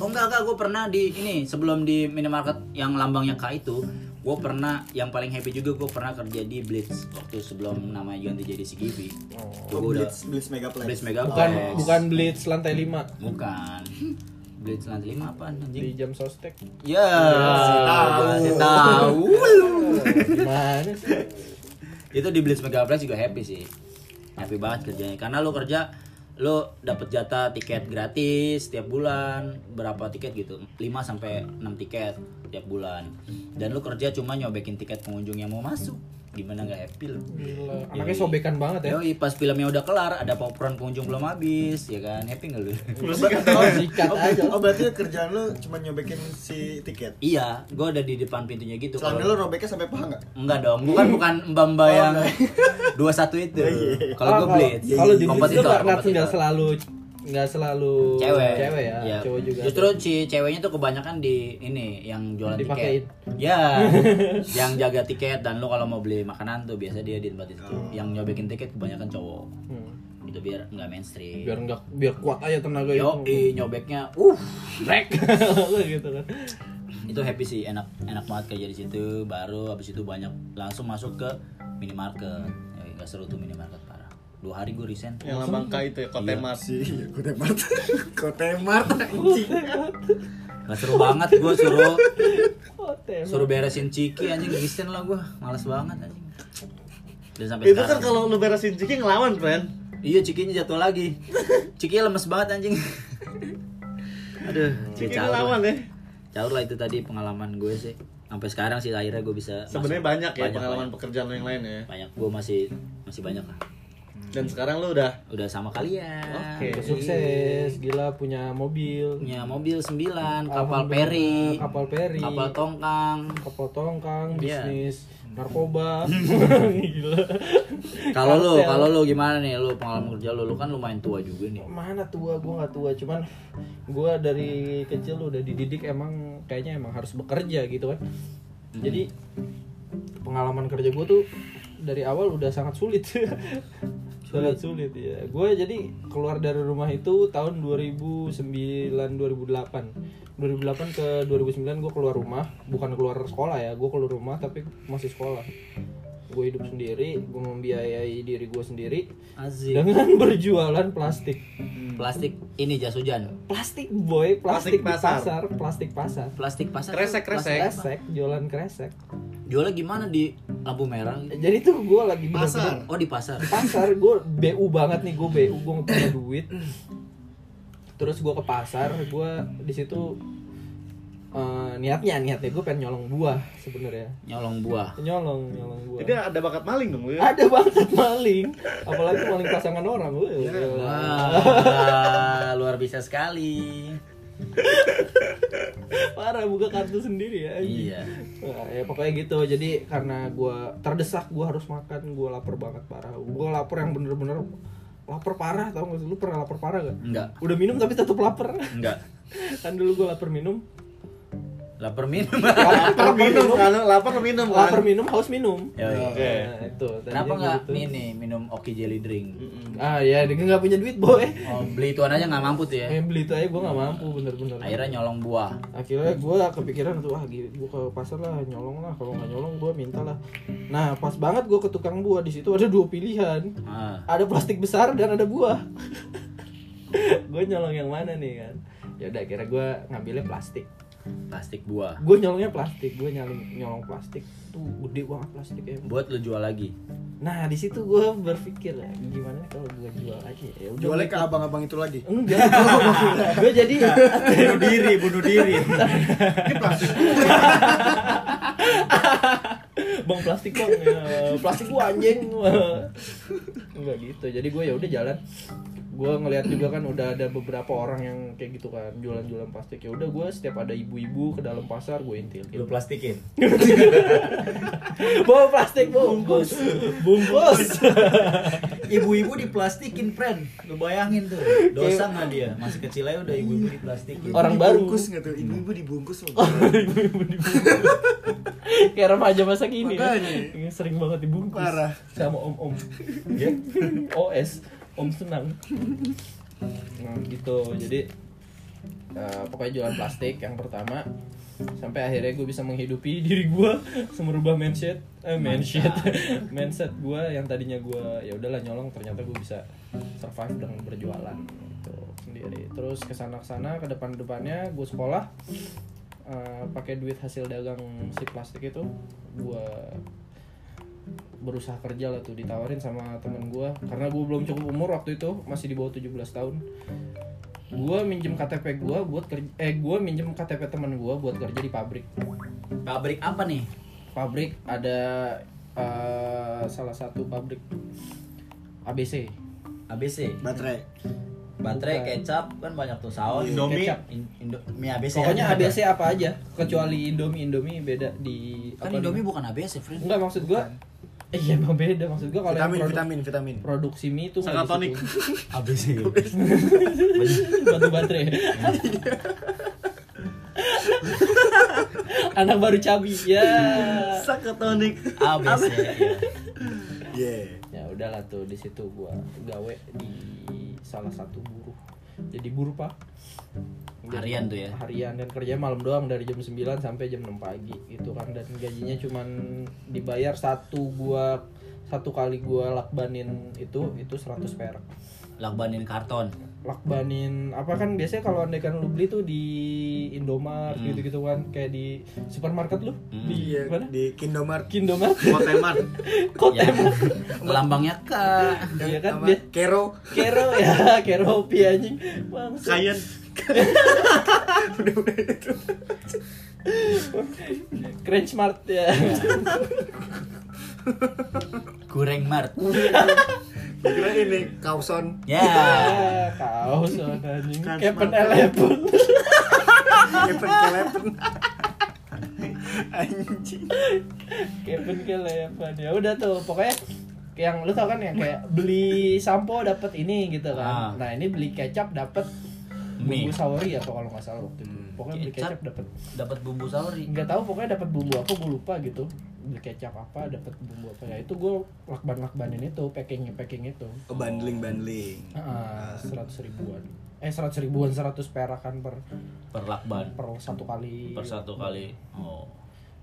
Speaker 3: Oh enggak enggak gue pernah di ini sebelum di minimarket yang lambangnya K itu gue pernah yang paling happy juga gue pernah kerja di Blitz waktu sebelum namanya ganti jadi CGV. Tuh,
Speaker 4: Oh,
Speaker 3: gua udah
Speaker 4: Blitz, Blitz Megaplex.
Speaker 3: Blitz Mega
Speaker 7: bukan
Speaker 3: Blitz.
Speaker 7: bukan Blitz lantai 5
Speaker 3: Bukan. Blitz lantai lima apaan
Speaker 7: di
Speaker 3: anjing?
Speaker 7: jam sostek
Speaker 3: Ya,
Speaker 4: Tahu.
Speaker 3: saya tahu.
Speaker 7: gimana sih
Speaker 3: itu di Blitz Megaplex juga happy sih. Happy banget kerjanya karena lo kerja lo dapet jatah tiket gratis tiap bulan berapa tiket gitu 5 sampai 6 tiket tiap bulan dan lo kerja cuma nyobekin tiket pengunjung yang mau masuk gimana nggak happy lo Iya.
Speaker 7: Gila. anaknya sobekan banget ya
Speaker 3: Yoi, pas filmnya udah kelar ada popcorn pengunjung belum habis ya kan happy nggak lo
Speaker 7: Oh, sikat
Speaker 4: Oh,
Speaker 7: aja.
Speaker 4: oh, berarti kerjaan lu cuma nyobekin si tiket.
Speaker 3: Iya, gue ada di depan pintunya gitu.
Speaker 4: Celana lu Oh, robeknya sampai paha enggak?
Speaker 3: Enggak dong, bukan bukan mbak mbak yang dua satu itu.
Speaker 4: Oh, iya.
Speaker 7: Ah,
Speaker 3: Kalau gue Blitz,
Speaker 7: kalau di Blitz tuh
Speaker 3: kompetitor,
Speaker 7: karena
Speaker 3: kompetitor.
Speaker 7: nggak selalu nggak selalu
Speaker 3: cewek,
Speaker 7: ya,
Speaker 3: Iya.
Speaker 7: cowok juga.
Speaker 3: Justru si ceweknya tuh kebanyakan di ini yang jualan
Speaker 7: Dipakein.
Speaker 3: tiket. Ya, yang jaga tiket dan lo kalau mau beli makanan tuh biasa dia di tempat itu.
Speaker 4: Oh.
Speaker 3: Yang nyobekin tiket kebanyakan cowok.
Speaker 7: Hmm.
Speaker 3: Itu biar nggak mainstream.
Speaker 7: biar nggak biar kuat aja tenaga
Speaker 3: Yo,
Speaker 7: itu.
Speaker 3: nyobeknya, uh, brek.
Speaker 7: gitu kan.
Speaker 1: Hmm.
Speaker 3: itu happy sih enak enak banget kerja di situ baru habis itu banyak langsung masuk ke minimarket ya, nggak seru tuh minimarket parah dua hari gue resign
Speaker 1: yang lambang K itu ya kotemat
Speaker 4: Si Kotemart. Kotemart anjing.
Speaker 3: nggak seru banget gue suruh
Speaker 7: Hotel.
Speaker 3: suruh beresin ciki anjing resign lah gue males banget anjing dan sampai
Speaker 1: itu kan
Speaker 3: sekarang
Speaker 1: kalau lu beresin ciki ngelawan friend
Speaker 3: iya cikinya jatuh lagi cikinya lemes banget anjing aduh
Speaker 1: ciki
Speaker 3: caur lah.
Speaker 1: ngelawan ya
Speaker 3: caur lah itu tadi pengalaman gue sih sampai sekarang sih akhirnya gue bisa masuk.
Speaker 1: sebenarnya banyak ya pengalaman
Speaker 3: banyak,
Speaker 1: pekerjaan lu yang lain ya
Speaker 3: banyak. gue masih masih banyak lah
Speaker 1: Dan sekarang lu udah
Speaker 3: udah sama kalian
Speaker 1: Oke.
Speaker 7: Udah sukses gila punya mobil
Speaker 3: punya mobil 9 kapal
Speaker 7: Alhamdulillah,
Speaker 3: peri
Speaker 7: kapal peri
Speaker 3: kapal tongkang
Speaker 7: kapal tongkang
Speaker 3: Iya.
Speaker 7: bisnis narkoba gila
Speaker 3: Kalau lu,
Speaker 7: Kartel.
Speaker 3: kalau lu gimana nih lu pengalaman kerja lu? Lu kan lumayan tua juga nih.
Speaker 7: mana tua gue nggak tua cuman gue dari kecil udah dididik emang kayaknya emang harus bekerja gitu kan jadi pengalaman kerja gue tuh dari awal udah sangat sulit sangat sulit ya gue jadi keluar dari rumah itu tahun 2009 2008 2008 ke 2009 gue keluar rumah bukan keluar sekolah ya gue keluar rumah tapi masih sekolah gue hidup sendiri gue membiayai diri gue sendiri
Speaker 3: Asik.
Speaker 7: dengan berjualan plastik
Speaker 3: Plastik ini jas hujan.
Speaker 7: plastik boy plastik, di
Speaker 1: Plastik pasar.
Speaker 7: pasar plastik pasar
Speaker 3: Plastik pasar. kan?
Speaker 1: Kresek, kresek.
Speaker 3: Plastik pasar.
Speaker 7: kresek jualan kresek
Speaker 3: Jualnya gimana di lampu merah gitu?
Speaker 7: jadi tuh gue lagi bener-bener-
Speaker 3: Oh, di pasar.
Speaker 7: pasar gue bu banget nih gue bu gue nggak punya duit terus gue ke pasar gue di situ eh, niatnya niatnya gue pengen nyolong buah sebenarnya
Speaker 3: Nyolong buah.
Speaker 7: nyolong nyolong buah
Speaker 1: Jadi ada bakat maling dong lu ya?
Speaker 7: ada banget maling apalagi maling pasangan orang gue
Speaker 1: Iya,
Speaker 3: Wah, Ah, luar biasa sekali.
Speaker 7: parah buka kartu sendiri ya anjing.
Speaker 3: Iya.
Speaker 7: Nah, ya pokoknya gitu jadi karena gua terdesak gua harus makan gua lapar banget parah gua lapar yang bener-bener lapar parah tau gak sih lu pernah lapar parah gak
Speaker 3: Enggak,
Speaker 7: udah minum tapi tetap lapar
Speaker 3: enggak.
Speaker 7: kan dulu gua lapar minum
Speaker 3: Lapar minum.
Speaker 7: lapar
Speaker 1: Lapar minum
Speaker 7: minum
Speaker 1: kan? Lapar minum kan?
Speaker 7: lapar minum haus minum
Speaker 3: Ya, iya.
Speaker 1: Oke.
Speaker 7: Nah, itu tadinya
Speaker 3: Kenapa
Speaker 7: gua
Speaker 3: enggak
Speaker 7: gitu.
Speaker 3: ini nih minum Oki Jelly Drink?
Speaker 7: ah ya dia nggak punya duit boy
Speaker 3: Oh, beli ituan aja nggak mampu tuh ya.
Speaker 7: yang beli itu aja gua nggak mampu bener-bener
Speaker 3: Akhirnya nyolong buah.
Speaker 7: akhirnya gua kepikiran tuh ah gi- gua ke pasar lah nyolong lah kalau nggak nyolong gua minta lah nah pas banget gua ke tukang buah di situ ada dua pilihan
Speaker 3: Ah.
Speaker 7: ada plastik besar dan ada buah gue nyolong yang mana nih kan ya udah kira gue ngambilnya plastik
Speaker 3: Plastik buah.
Speaker 7: gue nyolongnya plastik gue nyolong nyolong plastik tuh gede banget plastik ya
Speaker 3: Buat lu jual lagi.
Speaker 7: nah di situ gue berpikir ya, gimana kalau gue jual aja ya udah
Speaker 4: Jualnya ke abang-abang itu lagi.
Speaker 7: enggak gue jadi
Speaker 1: bunuh diri, bunuh diri.
Speaker 4: Ini plastik.
Speaker 7: bang plastik bang ya, plastik gua anjing enggak gitu jadi gue ya udah jalan gue ngelihat juga kan udah ada beberapa orang yang kayak gitu kan jualan-jualan plastik ya udah gue setiap ada ibu-ibu ke dalam pasar gue intil
Speaker 3: Lu plastikin.
Speaker 7: bawa plastik bungkus bungkus
Speaker 2: Ibu-ibu diplastikin, friend. Lu bayangin tuh. Dosa nggak dia? Masih kecil aja udah ibu-ibu diplastikin.
Speaker 7: orang baru Oh, iya.
Speaker 4: Bungkus nggak tuh? Ibu-ibu dibungkus loh.
Speaker 7: kayak remaja masa kini ya.
Speaker 4: Makanya.
Speaker 7: sering banget dibungkus
Speaker 4: Parah.
Speaker 7: sama om om ya os om senang nah, gitu jadi eh, pokoknya jualan plastik yang pertama sampai akhirnya gue bisa menghidupi diri gue merubah mindset eh, mindset mindset gue yang tadinya gue ya udahlah nyolong ternyata gue bisa survive dengan berjualan gitu sendiri terus kesana kesana ke depan depannya gue sekolah eh, pakai duit hasil dagang si plastik itu gue berusaha kerja lah tuh ditawarin sama temen gue karena gue belum cukup umur waktu itu masih di bawah 17 tahun gue minjem KTP gue buat kerja eh gue minjem KTP temen gue buat kerja di pabrik
Speaker 3: Pabrik apa nih?
Speaker 7: pabrik ada eh, salah satu pabrik ABC
Speaker 3: ABC.
Speaker 4: Baterai.
Speaker 3: Baterai,
Speaker 7: Bukan.
Speaker 3: kecap kan banyak tuh saus.
Speaker 1: Indomie.
Speaker 7: Kecap.
Speaker 3: In- Indo mie ABC.
Speaker 7: pokoknya
Speaker 3: aja.
Speaker 7: ABC apa aja kecuali Indomie Indomie beda di
Speaker 3: Kan
Speaker 7: apa
Speaker 3: Indomie bukan ABC,
Speaker 7: namanya?
Speaker 3: friend.
Speaker 7: enggak maksud gue iya emang beda maksud gue kalau yang
Speaker 4: Vitamin,
Speaker 7: produk-
Speaker 4: vitamin, vitamin.
Speaker 7: produksi mie itu nggak di
Speaker 1: Sakatonik.
Speaker 7: situ.
Speaker 3: ABC.
Speaker 7: batu baterai anak baru cabi ya
Speaker 1: Sakatonik.
Speaker 3: ABC.
Speaker 4: Yeah.
Speaker 7: ya udahlah tuh di situ gua gawe di salah satu buruh jadi buruh pak Gua
Speaker 3: Harian tuh ya?
Speaker 7: harian dan kerja malam doang dari jam 9 sampai jam 6 pagi gitu kan dan gajinya cuman dibayar satu gua satu kali gua lakbanin itu itu 100 perak
Speaker 3: Lakbanin kan. karton.
Speaker 7: lakbanin apa kan biasanya kalau andaikan lu beli tuh di Indomart
Speaker 3: Hmm.
Speaker 7: gitu-gitu kan kayak di supermarket lu
Speaker 3: Hmm.
Speaker 7: di
Speaker 4: Iya,
Speaker 7: mana?
Speaker 4: di Kindomart.
Speaker 7: Kindomart
Speaker 1: Koteman.
Speaker 7: Kotem
Speaker 3: Yang lambangnya K.
Speaker 7: Iya kan,
Speaker 4: Sama
Speaker 7: dia-
Speaker 4: Kero.
Speaker 7: Kero ya Kero Hopi anjing Bangsa.
Speaker 1: Kayan.
Speaker 7: Keren smart ya
Speaker 3: Goreng Mart.
Speaker 4: Kira ini kauson.
Speaker 3: Ya.
Speaker 7: Ah, kaos sama anjing
Speaker 1: Kan
Speaker 7: kayak
Speaker 1: smart.
Speaker 7: penelepon
Speaker 4: Kevin Kelepen. Anjing.
Speaker 7: Kevin Kelepan ya udah tuh pokoknya yang lu tau kan yang kayak beli sampo dapat ini gitu
Speaker 3: Ah.
Speaker 7: kan nah ini beli kecap dapat
Speaker 3: Mie.
Speaker 7: bumbu saori atau kalau nggak salah waktu itu
Speaker 3: Hmm,
Speaker 7: pokoknya beli
Speaker 3: kecap.
Speaker 7: kecap dapat
Speaker 3: Dapat bumbu sauri.
Speaker 7: nggak tahu pokoknya dapat bumbu apa gue lupa gitu beli kecap apa dapat bumbu apa ya itu gue lakban lakbanin itu packingnya packing itu
Speaker 4: Oh, bundling bundling.
Speaker 7: Ah,
Speaker 3: Nah,
Speaker 7: seratus ribuan eh seratus ribuan seratus perakan per
Speaker 3: Perlakban.
Speaker 7: per satu kali
Speaker 3: Per satu kali. Oh.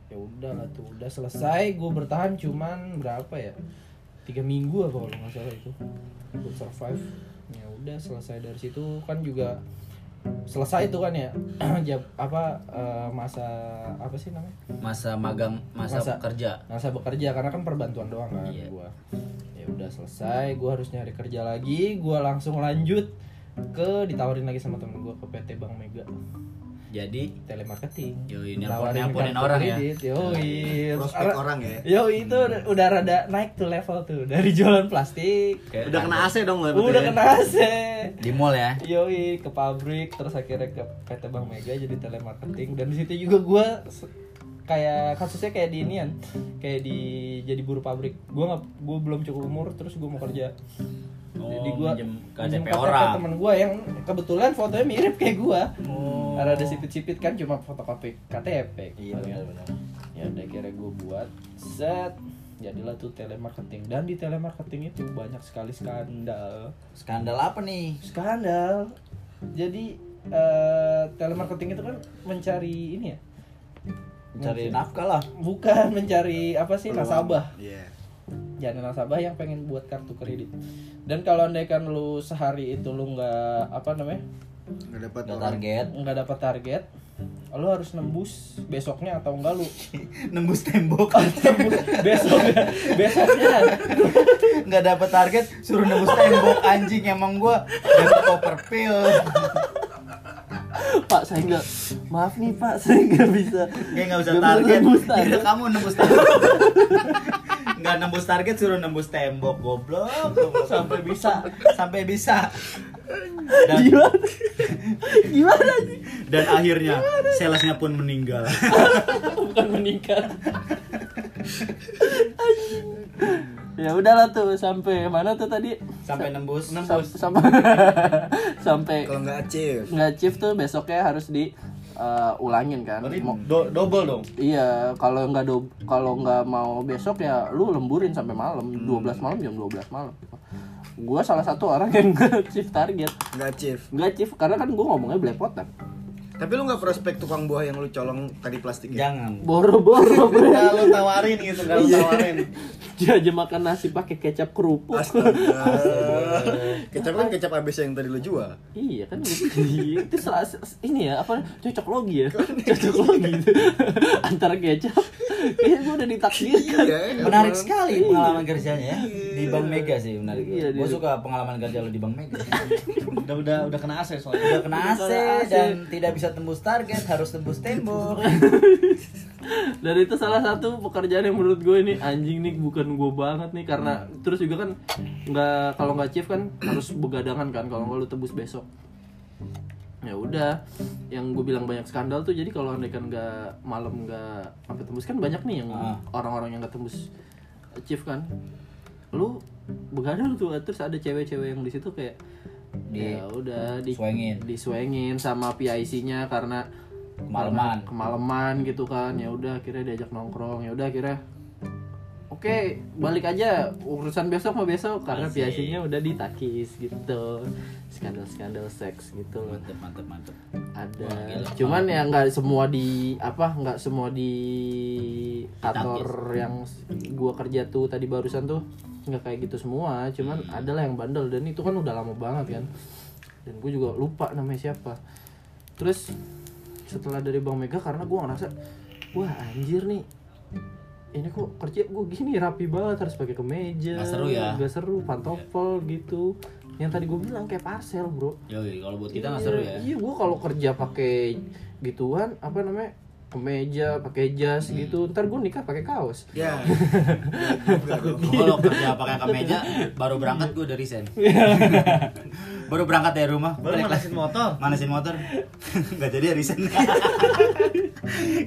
Speaker 7: ya udah lah tuh udah selesai gue bertahan cuman berapa ya tiga minggu apa kalau nggak salah itu gue survive ya udah selesai dari situ kan juga selesai itu kan ya jab apa eh, masa apa sih namanya
Speaker 3: Masa magang, masa,
Speaker 7: Masa.
Speaker 3: kerja.
Speaker 7: masa bekerja karena kan perbantuan doang kan
Speaker 3: Iya.
Speaker 7: gua ya udah selesai gua harus nyari kerja lagi gua langsung lanjut ke ditawarin lagi sama temen gua ke PT Bank Mega
Speaker 3: Jadi
Speaker 7: telemarketing
Speaker 3: Yoi, nelpon
Speaker 7: Nawarin
Speaker 3: nelponin
Speaker 7: kartu
Speaker 3: orang ya.
Speaker 7: kredit, yoi
Speaker 4: Prospek orang ya.
Speaker 7: Yo itu udah rada naik tuh level tuh dari jualan plastik
Speaker 3: Kayak
Speaker 1: Udah kena AC
Speaker 4: Oh,
Speaker 1: dong lah.
Speaker 7: udah kena
Speaker 4: ya?
Speaker 7: AC.
Speaker 3: Di mall ya.
Speaker 7: Yoi ke pabrik terus akhirnya ke PT Bank Mega jadi telemarketing dan di situ juga gua se- kayak kasusnya kayak di inian kayak di jadi buru pabrik gua nggak gua belum cukup umur terus gua mau kerja
Speaker 3: Oh,
Speaker 7: jadi gua
Speaker 3: minjem
Speaker 7: minjem
Speaker 3: KTP orang.
Speaker 7: temen gua yang kebetulan fotonya mirip kayak gua
Speaker 3: Oh.
Speaker 7: rada sipit-sipit kan cuma fotokopi KTP
Speaker 4: Iya benar-benar.
Speaker 7: gitu kan. ya udah akhirnya gue buat set jadilah tuh telemarketing dan di telemarketing itu banyak sekali skandal
Speaker 3: Skandal apa nih?
Speaker 7: skandal jadi eh, telemarketing itu kan mencari ini ya
Speaker 3: Cari nafkah lah.
Speaker 7: bukan mencari apa sih nasabah
Speaker 4: Iya.
Speaker 7: jadi nasabah yang pengen buat kartu kredit dan kalau andaikan lu sehari itu lu nggak apa namanya
Speaker 4: Enggak dapat
Speaker 3: Udah
Speaker 4: orang.
Speaker 3: target.
Speaker 7: nggak dapat target lu harus nembus besoknya atau enggak lu
Speaker 3: Nembus tembok.
Speaker 1: Oh,
Speaker 7: Nembus besok besoknya
Speaker 3: Nggak dapet target, suruh nembus tembok anjing emang gua. Dapat popper pill.
Speaker 7: Pak saya nggak maaf nih Pak saya nggak bisa
Speaker 3: Kayak nggak usah
Speaker 7: Nggak
Speaker 3: target.
Speaker 7: nembus target.
Speaker 3: Kira kamu nembus tembok. Nggak nembus target suruh nembus tembok goblok. goblok. Sampai bisa, sampai bisa. Dan,
Speaker 7: gimana gimana sih
Speaker 3: dan akhirnya salesnya pun meninggal.
Speaker 7: bukan meningkat ya udahlah tuh sampai mana tuh tadi
Speaker 3: Sampai nembus.
Speaker 7: Sam- sampai sampai
Speaker 4: Kalau nggak achieve.
Speaker 7: nggak chief tuh besoknya harus di eh, ulangin kan
Speaker 1: Berarti
Speaker 7: Mau-
Speaker 1: do- double dong.
Speaker 7: Iya, kalau nggak do, kalau nggak mau besok ya lu lemburin sampai malam,
Speaker 4: Hmm.
Speaker 7: 12 malam jam 12 malam. Gua salah satu orang yang nggak chief target,
Speaker 4: Nggak achieve.
Speaker 7: nggak chief karena kan gua ngomongnya belepotan.
Speaker 4: Tapi lu nggak prospek tukang buah yang lu colong tadi plastik ya?
Speaker 3: Jangan.
Speaker 7: Boro-boro bro.
Speaker 1: Nggak lu tawarin gitu, nggak lu tawarin.
Speaker 7: Iya. Dia aja makan nasi pakai kecap kerupuk.
Speaker 4: Astaga. kecap kan kecap abis yang tadi lu jual.
Speaker 7: Iya kan gitu. Itu salah- ini ya apa cocok logi ya. Cocok logi. gitu. Antara kecap. Kayaknya gua udah ditakdirkan.
Speaker 4: Iya.
Speaker 3: Menarik sekali pengalaman kerjanya ya. Di Bank Mega sih menarik.
Speaker 7: Iya,
Speaker 3: Gue
Speaker 7: dia-
Speaker 3: suka pengalaman kerja lo di Bank Mega.
Speaker 1: Udah udah udah kena AC soalnya.
Speaker 3: Udah kena AC Iya. dan tidak bisa tembus target, harus tembus tembok.
Speaker 7: Dan itu salah satu pekerjaan yang menurut gue ini anjing nih bukan gue banget nih karena terus juga kan nggak kalau nggak chief kan harus begadangan kan kalau nggak lu tebus besok. Ya udah, yang gue bilang banyak skandal tuh jadi kalau andaikan nggak malam nggak sampai tembus kan banyak nih yang
Speaker 3: Ah.
Speaker 7: orang-orang yang nggak tembus chief kan. Lu begadang tuh terus ada cewek-cewek yang di situ kayak
Speaker 3: Di-
Speaker 7: ya udah di
Speaker 3: Swengin.
Speaker 7: disuengin sama PIC-nya karena
Speaker 3: Kemalaman.
Speaker 7: karena kemalaman gitu kan ya udah akhirnya diajak nongkrong ya udah akhirnya oke balik aja urusan besok mah besok karena
Speaker 3: Asik.
Speaker 7: PIC-nya udah ditakis gitu skandal skandal seks gitu loh
Speaker 3: Mantep, mantep, mantep.
Speaker 7: ada
Speaker 3: Wah, gila.
Speaker 7: cuman ya nggak semua di apa nggak semua di
Speaker 3: Hmm.
Speaker 7: kantor yang gua kerja tuh tadi barusan tuh nggak kayak gitu semua cuman
Speaker 3: Hmm.
Speaker 7: adalah yang bandel dan itu kan udah lama banget kan dan gue juga lupa namanya siapa terus setelah dari bang Mega karena gua ngerasa wah anjir nih ini kok kerja gue gini rapi banget harus pakai kemeja
Speaker 3: Nggak seru ya?
Speaker 7: nggak seru pantopel gitu yang tadi gue bilang kayak parcel bro
Speaker 3: Iya, Yoi, kalau buat kita nggak seru ya.
Speaker 7: Iya, gue kalau kerja pakai gituan apa namanya kemeja pakai jas
Speaker 3: Hmm.
Speaker 7: gitu ntar gue nikah pakai kaos
Speaker 3: Iya.
Speaker 4: Ya. Juga dong.
Speaker 3: Kalau kerja pakai kemeja baru berangkat gue udah resign. baru berangkat dari rumah.
Speaker 4: Baru
Speaker 3: balik
Speaker 4: manasin
Speaker 3: lagi.
Speaker 4: motor.
Speaker 3: Manasin motor. Gak jadi ya resign.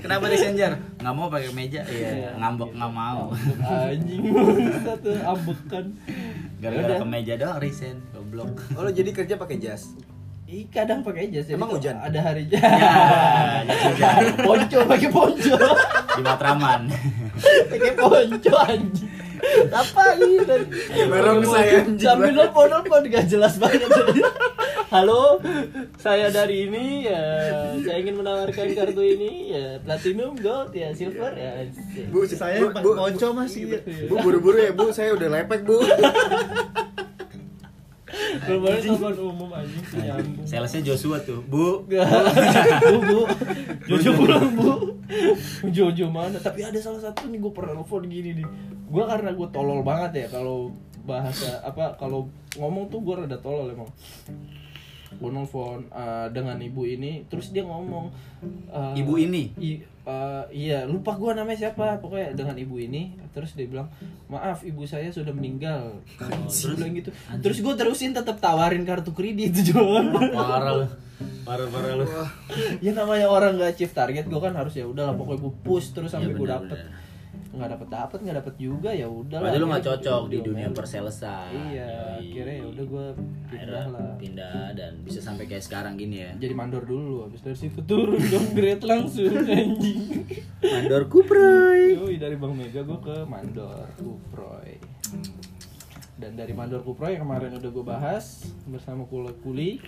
Speaker 3: Kenapa resign Jar? Nggak mau pakai kemeja. Iya, ngambek nggak mau.
Speaker 7: anjing satu ambekan
Speaker 4: Ya
Speaker 3: Gara-gara kemeja doang resign. Goblok.
Speaker 4: Oh, lo jadi kerja pakai jas.
Speaker 7: Ih, kadang pakai jas jadi
Speaker 4: Emang
Speaker 7: tuh
Speaker 4: hujan?
Speaker 7: ada hari
Speaker 3: Ya, jas hujan.
Speaker 7: ponco pakai ponco
Speaker 3: Di Matraman.
Speaker 7: pakai ponco anjing apa ini
Speaker 4: Bareng saya anjing.
Speaker 7: sambil nelfon nelfon gak jelas banget halo saya dari ini ya saya ingin menawarkan kartu ini ya platinum gold ya silver ya anjing.
Speaker 4: Bu, saya bu, konco masih. Bu buru-buru ya, Bu. Saya udah lepek, Bu.
Speaker 7: Belum boleh telepon umum anjing sih nyambung.
Speaker 3: Salesnya Joshua tuh. Bu,
Speaker 7: bu, bu, Jojo pulang bu Jojo mana? Tapi ada salah satu nih gue pernah nelfon gini nih Gue karena gue tolol banget ya kalau bahasa apa kalau ngomong tuh gue rada tolol emang gue nelfon eh, dengan ibu ini terus dia ngomong eh,
Speaker 3: ibu ini.
Speaker 7: I- eh, iya lupa gua namanya siapa pokoknya dengan ibu ini terus dia bilang maaf ibu saya sudah meninggal
Speaker 3: Oh,
Speaker 7: terus bilang gitu terus gue terusin tetap tawarin kartu kredit Jon
Speaker 3: Parah lu. Parah-parah lu.
Speaker 7: ya namanya orang nggak achieve target gue kan harus ya udahlah pokoknya gue push terus sampai
Speaker 3: Iya,
Speaker 7: gue
Speaker 3: benar,
Speaker 7: dapet
Speaker 3: benar.
Speaker 7: nggak dapet dapet nggak dapet juga ya udah
Speaker 3: Berarti lu nggak cocok di dunia perselesan. Yoi.
Speaker 7: iya akhirnya ya udah gue pindah lah
Speaker 3: Akhirnya pindah dan bisa sampai kayak sekarang gini ya
Speaker 7: jadi mandor dulu habis dari situ turun downgrade langsung anjing
Speaker 3: mandor kuproy
Speaker 7: Yoi dari Bang Mega gue ke Mandor Kuproy Dan dari Mandor Kuproy yang kemarin udah gue bahas Bersama Kule Kuli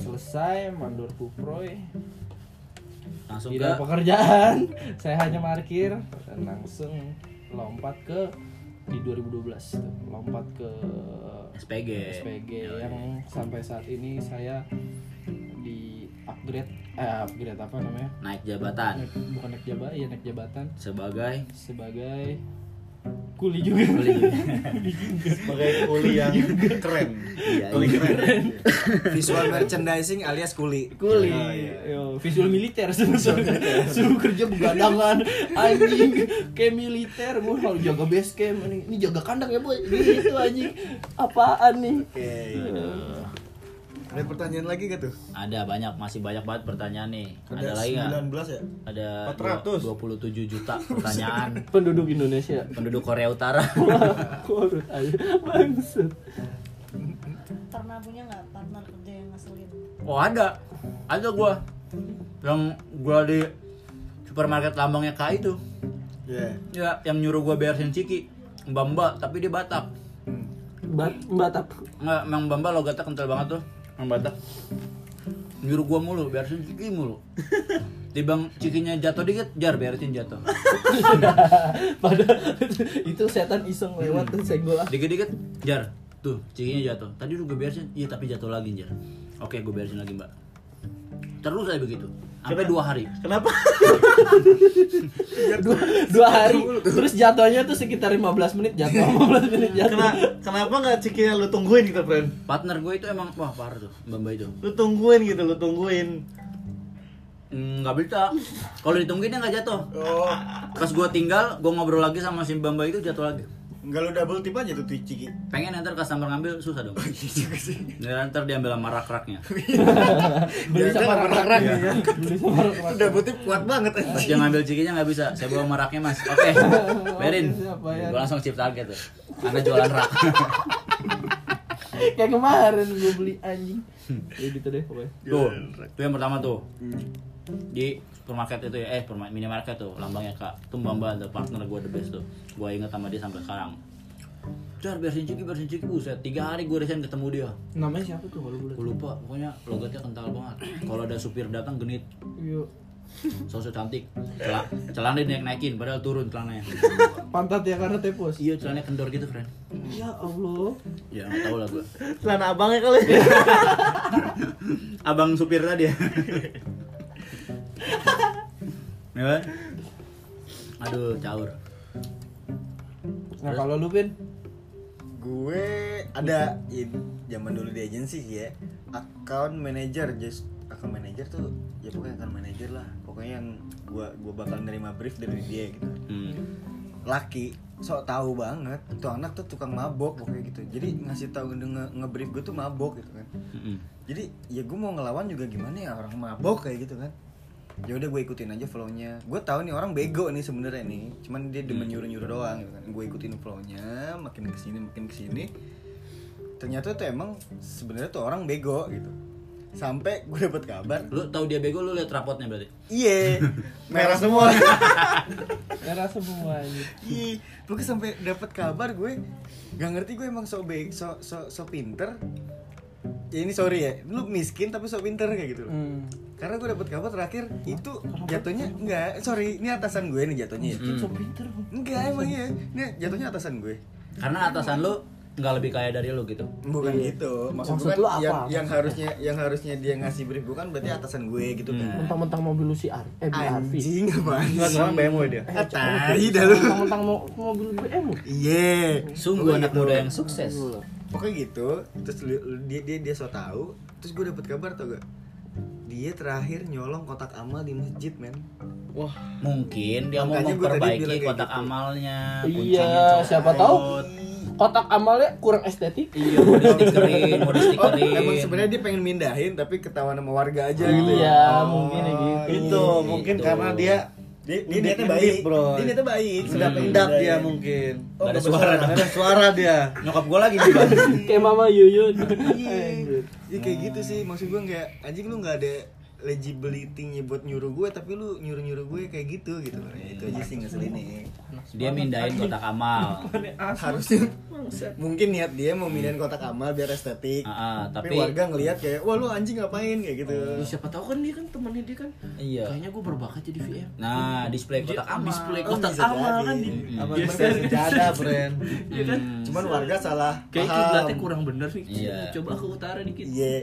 Speaker 7: Selesai Mandor Kuproy
Speaker 3: langsung
Speaker 7: Tidak ada
Speaker 3: ke
Speaker 7: pekerjaan Saya hanya parkir Dan langsung lompat ke Di 2012 tuh, Lompat ke
Speaker 3: SPG
Speaker 7: SPG Yang sampai saat ini saya di upgrade Eh upgrade apa namanya
Speaker 3: naik jabatan
Speaker 7: Naik- Bukan naik jabatan, ya naik jabatan
Speaker 3: sebagai
Speaker 7: sebagai kuli juga
Speaker 3: Kuli juga.
Speaker 4: Pakai kuli yang keren.
Speaker 3: Iya, iya.
Speaker 4: Kuli keren. Visual merchandising alias kuli.
Speaker 7: kuli
Speaker 4: Oh, iya.
Speaker 7: yo visual militer sebetulnya suruh kerja begadangan anjing kayak militer gue kalau jaga base camp ini, ini jaga kandang ya boy gitu anjing apaan nih
Speaker 4: Oke. Ada pertanyaan lagi gak tuh?
Speaker 3: ada banyak masih banyak banget pertanyaan nih ada, lagi nggak
Speaker 4: 19 ya?
Speaker 3: ada
Speaker 4: 400.
Speaker 3: 27 juta pertanyaan
Speaker 7: penduduk Indonesia
Speaker 3: penduduk Korea Utara
Speaker 7: korut aja bangsat
Speaker 5: Pernah punya nggak partner kerja yang ngeselin?
Speaker 3: oh ada ada gua yang gua di supermarket lambangnya K itu
Speaker 4: Iya.
Speaker 3: ya yang nyuruh gua bayar ciki mbak mbak tapi dia Batak
Speaker 7: bat batap
Speaker 3: Nggak, Mang Bamba lo gatak kental banget tuh Mang Batak Nyuruh gua mulu, beresin ciki mulu Di bang cikinya jatuh dikit, jar beresin jatuh
Speaker 7: pada itu setan iseng lewat tuh senggol ah.
Speaker 3: Dikit-dikit, jar Tuh, cikinya jatuh Tadi udah gue beresin, iya tapi jatuh lagi jar Oke, gue beresin lagi mbak Terus aja begitu Sampai dua hari
Speaker 1: Kenapa?
Speaker 7: dua, dua hari terus jatuhnya tuh sekitar 15 menit jatuh 15 menit jatuh
Speaker 1: Kena, kenapa nggak cikinya lu tungguin gitu, friend?
Speaker 3: Partner gue itu emang, wah parah tuh Bamba itu
Speaker 1: Lu tungguin gitu, lu tungguin.
Speaker 3: Mm, nggak bisa kalau ditungguin dia nggak jatuh
Speaker 4: Oh.
Speaker 3: pas gue tinggal gue ngobrol lagi sama si Bamba itu jatuh lagi
Speaker 4: Enggak lu double tip aja tuh tuh Ciki.
Speaker 3: pengen ntar customer ngambil susah
Speaker 4: Oh,
Speaker 3: dong
Speaker 4: iya
Speaker 3: Dan ntar diambil sama rak-raknya
Speaker 2: Iya,
Speaker 7: beli sama rak-rak beli sama rak-rak
Speaker 4: double tip kuat banget
Speaker 3: Pas dia ngambil cikinya nggak bisa, saya bawa meraknya mas. Oke, berin.
Speaker 7: Oke, siap, bayar.
Speaker 3: Gue langsung chip target tuh. Anda jualan rak.
Speaker 7: kayak kemarin gue beli anjing ya gitu deh pokoknya
Speaker 4: Iya,
Speaker 3: tuh, itu yang pertama tuh. Di supermarket itu ya, eh perma- minimarket tuh, lambangnya kak. Tuh mbak ada partner gue the best tuh. Gue inget sama dia sampai sekarang. Jar, bersin ciki, bersin ciki, buset. Tiga hari gue resign ketemu dia.
Speaker 7: namanya siapa tuh kalau boleh
Speaker 3: Gue lupa, pokoknya logatnya kental banget. Kalau ada supir datang genit,
Speaker 7: yuk
Speaker 3: sosok cantik. Celah, celana dia naik-naikin, padahal turun celananya.
Speaker 7: pantat ya karena tepos
Speaker 3: iya, celananya kendor gitu, friend.
Speaker 7: ya allah
Speaker 3: Ya, nggak tahu lah gue.
Speaker 1: Celana abangnya kali.
Speaker 3: abang supir tadi ya. Ya kan? Aduh, caur.
Speaker 7: nah kalau lu pin
Speaker 4: Gue ada ya, zaman dulu di agensi sih ya. Account manager just account manager tuh ya pokoknya account manager lah pokoknya yang gua gua bakal nerima brief dari dia gitu
Speaker 3: Hmm,
Speaker 4: laki sok tahu banget tuh anak tuh tukang mabok pokoknya gitu jadi ngasih tahu nge- nge-brief gue tuh mabok gitu kan
Speaker 3: hmm,
Speaker 4: jadi ya gue mau ngelawan juga gimana ya orang mabok kayak gitu kan ya udah gue ikutin aja flownya gue tahu nih orang bego nih sebenarnya nih cuman dia demen nyuruh nyuruh doang gitu kan gue ikutin flownya makin kesini makin kesini ternyata tuh emang sebenarnya tuh orang bego gitu sampai gue dapet kabar
Speaker 3: Lu tahu dia bego lu lihat rapotnya berarti.
Speaker 4: iye merah semua
Speaker 7: Merah Ya, semua anjir.
Speaker 4: Ih, pokoknya sampai dapat kabar gue nggak ngerti gue emang sok baik, sok sok sok pinter. Ya ini sorry ya, lu miskin tapi sok pinter kayak gitu loh.
Speaker 7: Hmm.
Speaker 4: Karena gue dapat kabar terakhir itu jatuhnya enggak, sorry, ini atasan gue nih jatuhnya. ya.
Speaker 7: So pinter.
Speaker 4: Enggak emang ya, ini jatuhnya atasan gue.
Speaker 3: Karena atasan lu nggak lebih kaya dari lu gitu.
Speaker 4: Bukan gitu, maksud,
Speaker 7: Maksud
Speaker 4: gue
Speaker 7: lu
Speaker 4: kan
Speaker 7: apa?
Speaker 4: yang, yang harusnya yang harusnya dia ngasih brief gue kan berarti atasan gue gitu kan.
Speaker 7: Mentang-mentang mobil lu si Ar. Eh, Arfi.
Speaker 4: Anjing apaan
Speaker 1: Enggak
Speaker 4: sih?
Speaker 1: sekarang BMW dia.
Speaker 4: Ah, tai dah lu.
Speaker 7: Mentang-mentang mo- mobil BM lu.
Speaker 4: Iya.
Speaker 3: Sungguh
Speaker 4: Pokoknya
Speaker 3: anak
Speaker 4: gitu.
Speaker 3: muda yang sukses.
Speaker 4: pokoknya gitu terus li- li- dia dia dia so tahu terus gue dapet kabar tau gak dia terakhir nyolong kotak amal di masjid men
Speaker 7: Wah,
Speaker 3: Mungkin dia mau
Speaker 4: Makanya gua tadi bilang
Speaker 3: memperbaiki
Speaker 4: kayak
Speaker 3: kotak
Speaker 4: gitu.
Speaker 3: amalnya,
Speaker 7: iya,
Speaker 3: kuncinya
Speaker 7: siapa tahu kotak amalnya kurang estetik.
Speaker 3: Iya, mau di stikerin, mau di
Speaker 4: oh, emang
Speaker 3: stikerin.
Speaker 4: sebenarnya dia pengen mindahin tapi ketahuan sama warga aja gitu ya
Speaker 7: Iya, mungkin ya gitu.
Speaker 1: Itu mungkin
Speaker 3: Gitu.
Speaker 1: karena dia
Speaker 4: dia, dia
Speaker 1: Dia
Speaker 4: niatnya
Speaker 1: baik,
Speaker 4: baik
Speaker 1: bro.
Speaker 4: dia niatnya baik sudah pengen
Speaker 1: hendak dia
Speaker 4: mindahin.
Speaker 1: mungkin.
Speaker 3: Gak
Speaker 4: oh,
Speaker 3: ada
Speaker 4: ada
Speaker 3: suara.
Speaker 4: suara
Speaker 1: Ada suara dia.
Speaker 3: Nyokap gua lagi di Bali.
Speaker 7: Kayak Mama Yuyun.
Speaker 4: Iya, Ya, kayak gitu sih maksud gue kayak anjing lu nggak ada legibility-nya buat nyuruh gue tapi lu nyuruh nyuruh gue kayak gitu gitu
Speaker 3: Iya,
Speaker 4: loh. Ya, itu aja sih ngeselinnya
Speaker 3: Dia mindahin kotak amal.
Speaker 4: harusnya mungkin niat dia mau mindahin kotak amal biar estetik
Speaker 3: Ah, ah, tapi-
Speaker 4: tapi,
Speaker 3: Oh,
Speaker 4: warga ngelihat kayak wah lu anjing ngapain kayak gitu
Speaker 1: Ya, siapa tahu kan dia kan temennya dia kan.
Speaker 3: Iya.
Speaker 1: Kayaknya gue berbakat jadi VM.
Speaker 3: Nah, display kotak amal.
Speaker 1: Display
Speaker 4: Oh,
Speaker 1: kotak
Speaker 4: bisa
Speaker 1: amal
Speaker 4: jadi.
Speaker 1: kan di.
Speaker 4: Amal
Speaker 1: Iya,
Speaker 4: berbakat
Speaker 1: kan?
Speaker 4: sejada, friend.
Speaker 1: Iya kan?
Speaker 4: cuman warga salah
Speaker 1: Kayak
Speaker 4: paham.
Speaker 1: kiblatnya kurang bener sih.
Speaker 3: Iya.
Speaker 1: Coba ke utara dikit.
Speaker 4: iya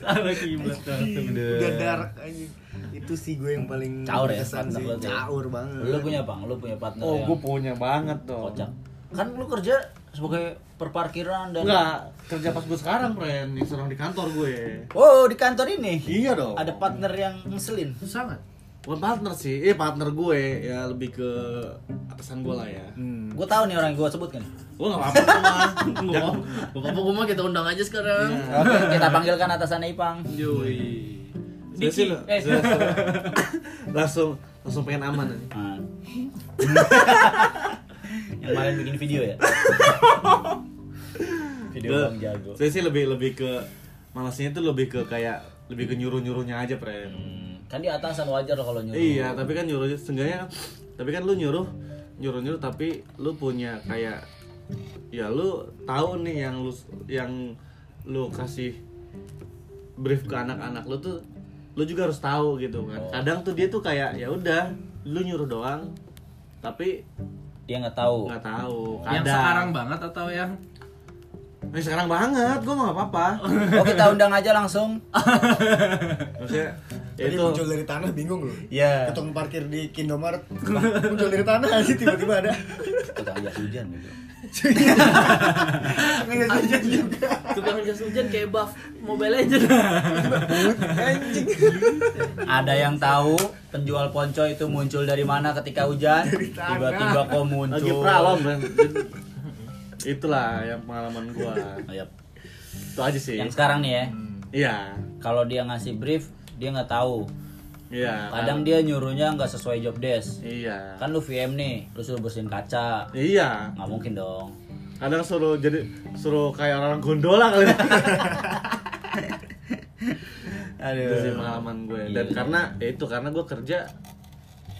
Speaker 1: Salah kiblat.
Speaker 4: udah dark anjing itu sih gue yang paling
Speaker 3: Caur ya,
Speaker 4: berkesan
Speaker 3: partner
Speaker 4: sih.
Speaker 3: lo tuh.
Speaker 4: caur banget
Speaker 3: Lu punya bang, lu punya partner
Speaker 1: Oh,
Speaker 3: yang
Speaker 1: gue punya banget dong.
Speaker 3: kocak. Kan lu kerja sebagai perparkiran dan
Speaker 1: Enggak, kerja pas gue sekarang, friend, yang sekarang di kantor gue.
Speaker 3: Oh, di kantor ini.
Speaker 1: Iya dong.
Speaker 3: Ada partner yang ngeselin.
Speaker 1: sangat. Bukan partner sih, eh partner gue ya lebih ke atasan gue lah ya.
Speaker 4: Hmm.
Speaker 3: Gua tahu nih orang yang gua sebut kan.
Speaker 1: Gue gak apa-apa gue mah. Gue gak apa-apa gue mah.
Speaker 2: kita undang aja sekarang.
Speaker 3: Kita panggilkan atasannya Ipang.
Speaker 1: Yoi. Saya
Speaker 2: Diki.
Speaker 1: sih lo-
Speaker 2: Eh.
Speaker 1: saya sih lo- langsung langsung pengen aman aja.
Speaker 3: Nah. yang kemarin bikin video ya. video
Speaker 1: Gue-
Speaker 3: Bang Jago.
Speaker 1: Saya sih lebih lebih ke malasnya itu lebih ke kayak lebih ke nyuruh-nyuruhnya aja, friend.
Speaker 3: Hmm, kan di atasan wajar lah kalau nyuruh.
Speaker 1: Iya, tapi kan nyuruh setengahnya tapi kan lu nyuruh nyuruh nyuruh tapi lu punya kayak ya lu tahu nih yang lu yang lu kasih brief ke anak-anak lu tuh lu juga harus tahu gitu kan. Kadang tuh dia tuh kayak ya udah lu nyuruh doang tapi
Speaker 3: Dia nggak tahu.
Speaker 1: nggak tahu. Kadang.
Speaker 2: Yang sekarang banget atau yang
Speaker 1: Eh, sekarang banget, gua nggak apa-apa.
Speaker 3: Oh, kita undang aja langsung.
Speaker 1: Maksudnya ya
Speaker 4: Tadi
Speaker 1: itu
Speaker 4: muncul dari tanah bingung lu.
Speaker 3: Iya.
Speaker 4: Ketong parkir di Kindomaret, muncul dari tanah aja tiba-tiba ada.
Speaker 3: Tukang jas hujan gitu.
Speaker 4: Nggak saja juga.
Speaker 1: Iya.
Speaker 2: tukang jas hujan kayak buff Mobile Legend.
Speaker 4: Anjing.
Speaker 3: Ada yang tahu penjual ponco itu muncul dari mana ketika hujan? Tiba-tiba kok muncul.
Speaker 1: lagi pralon kan. Itulah yang pengalaman gua.
Speaker 3: Ayap.
Speaker 1: Itu aja sih.
Speaker 3: Iya. Yang sekarang nih ya.
Speaker 1: Iya.
Speaker 3: Kalau dia ngasih brief, dia nggak tahu.
Speaker 1: Iya.
Speaker 3: Kadang dia nyuruhnya nggak sesuai job desk.
Speaker 1: Iya.
Speaker 3: Kan lu VM nih, lu suruh bersihin kaca.
Speaker 1: Iya.
Speaker 3: Nggak mungkin dong.
Speaker 1: Kadang suruh jadi suruh kayak orang gondola kali. Itu sih pengalaman gue. Dan
Speaker 3: Iya.
Speaker 1: karena ya itu karena gue kerja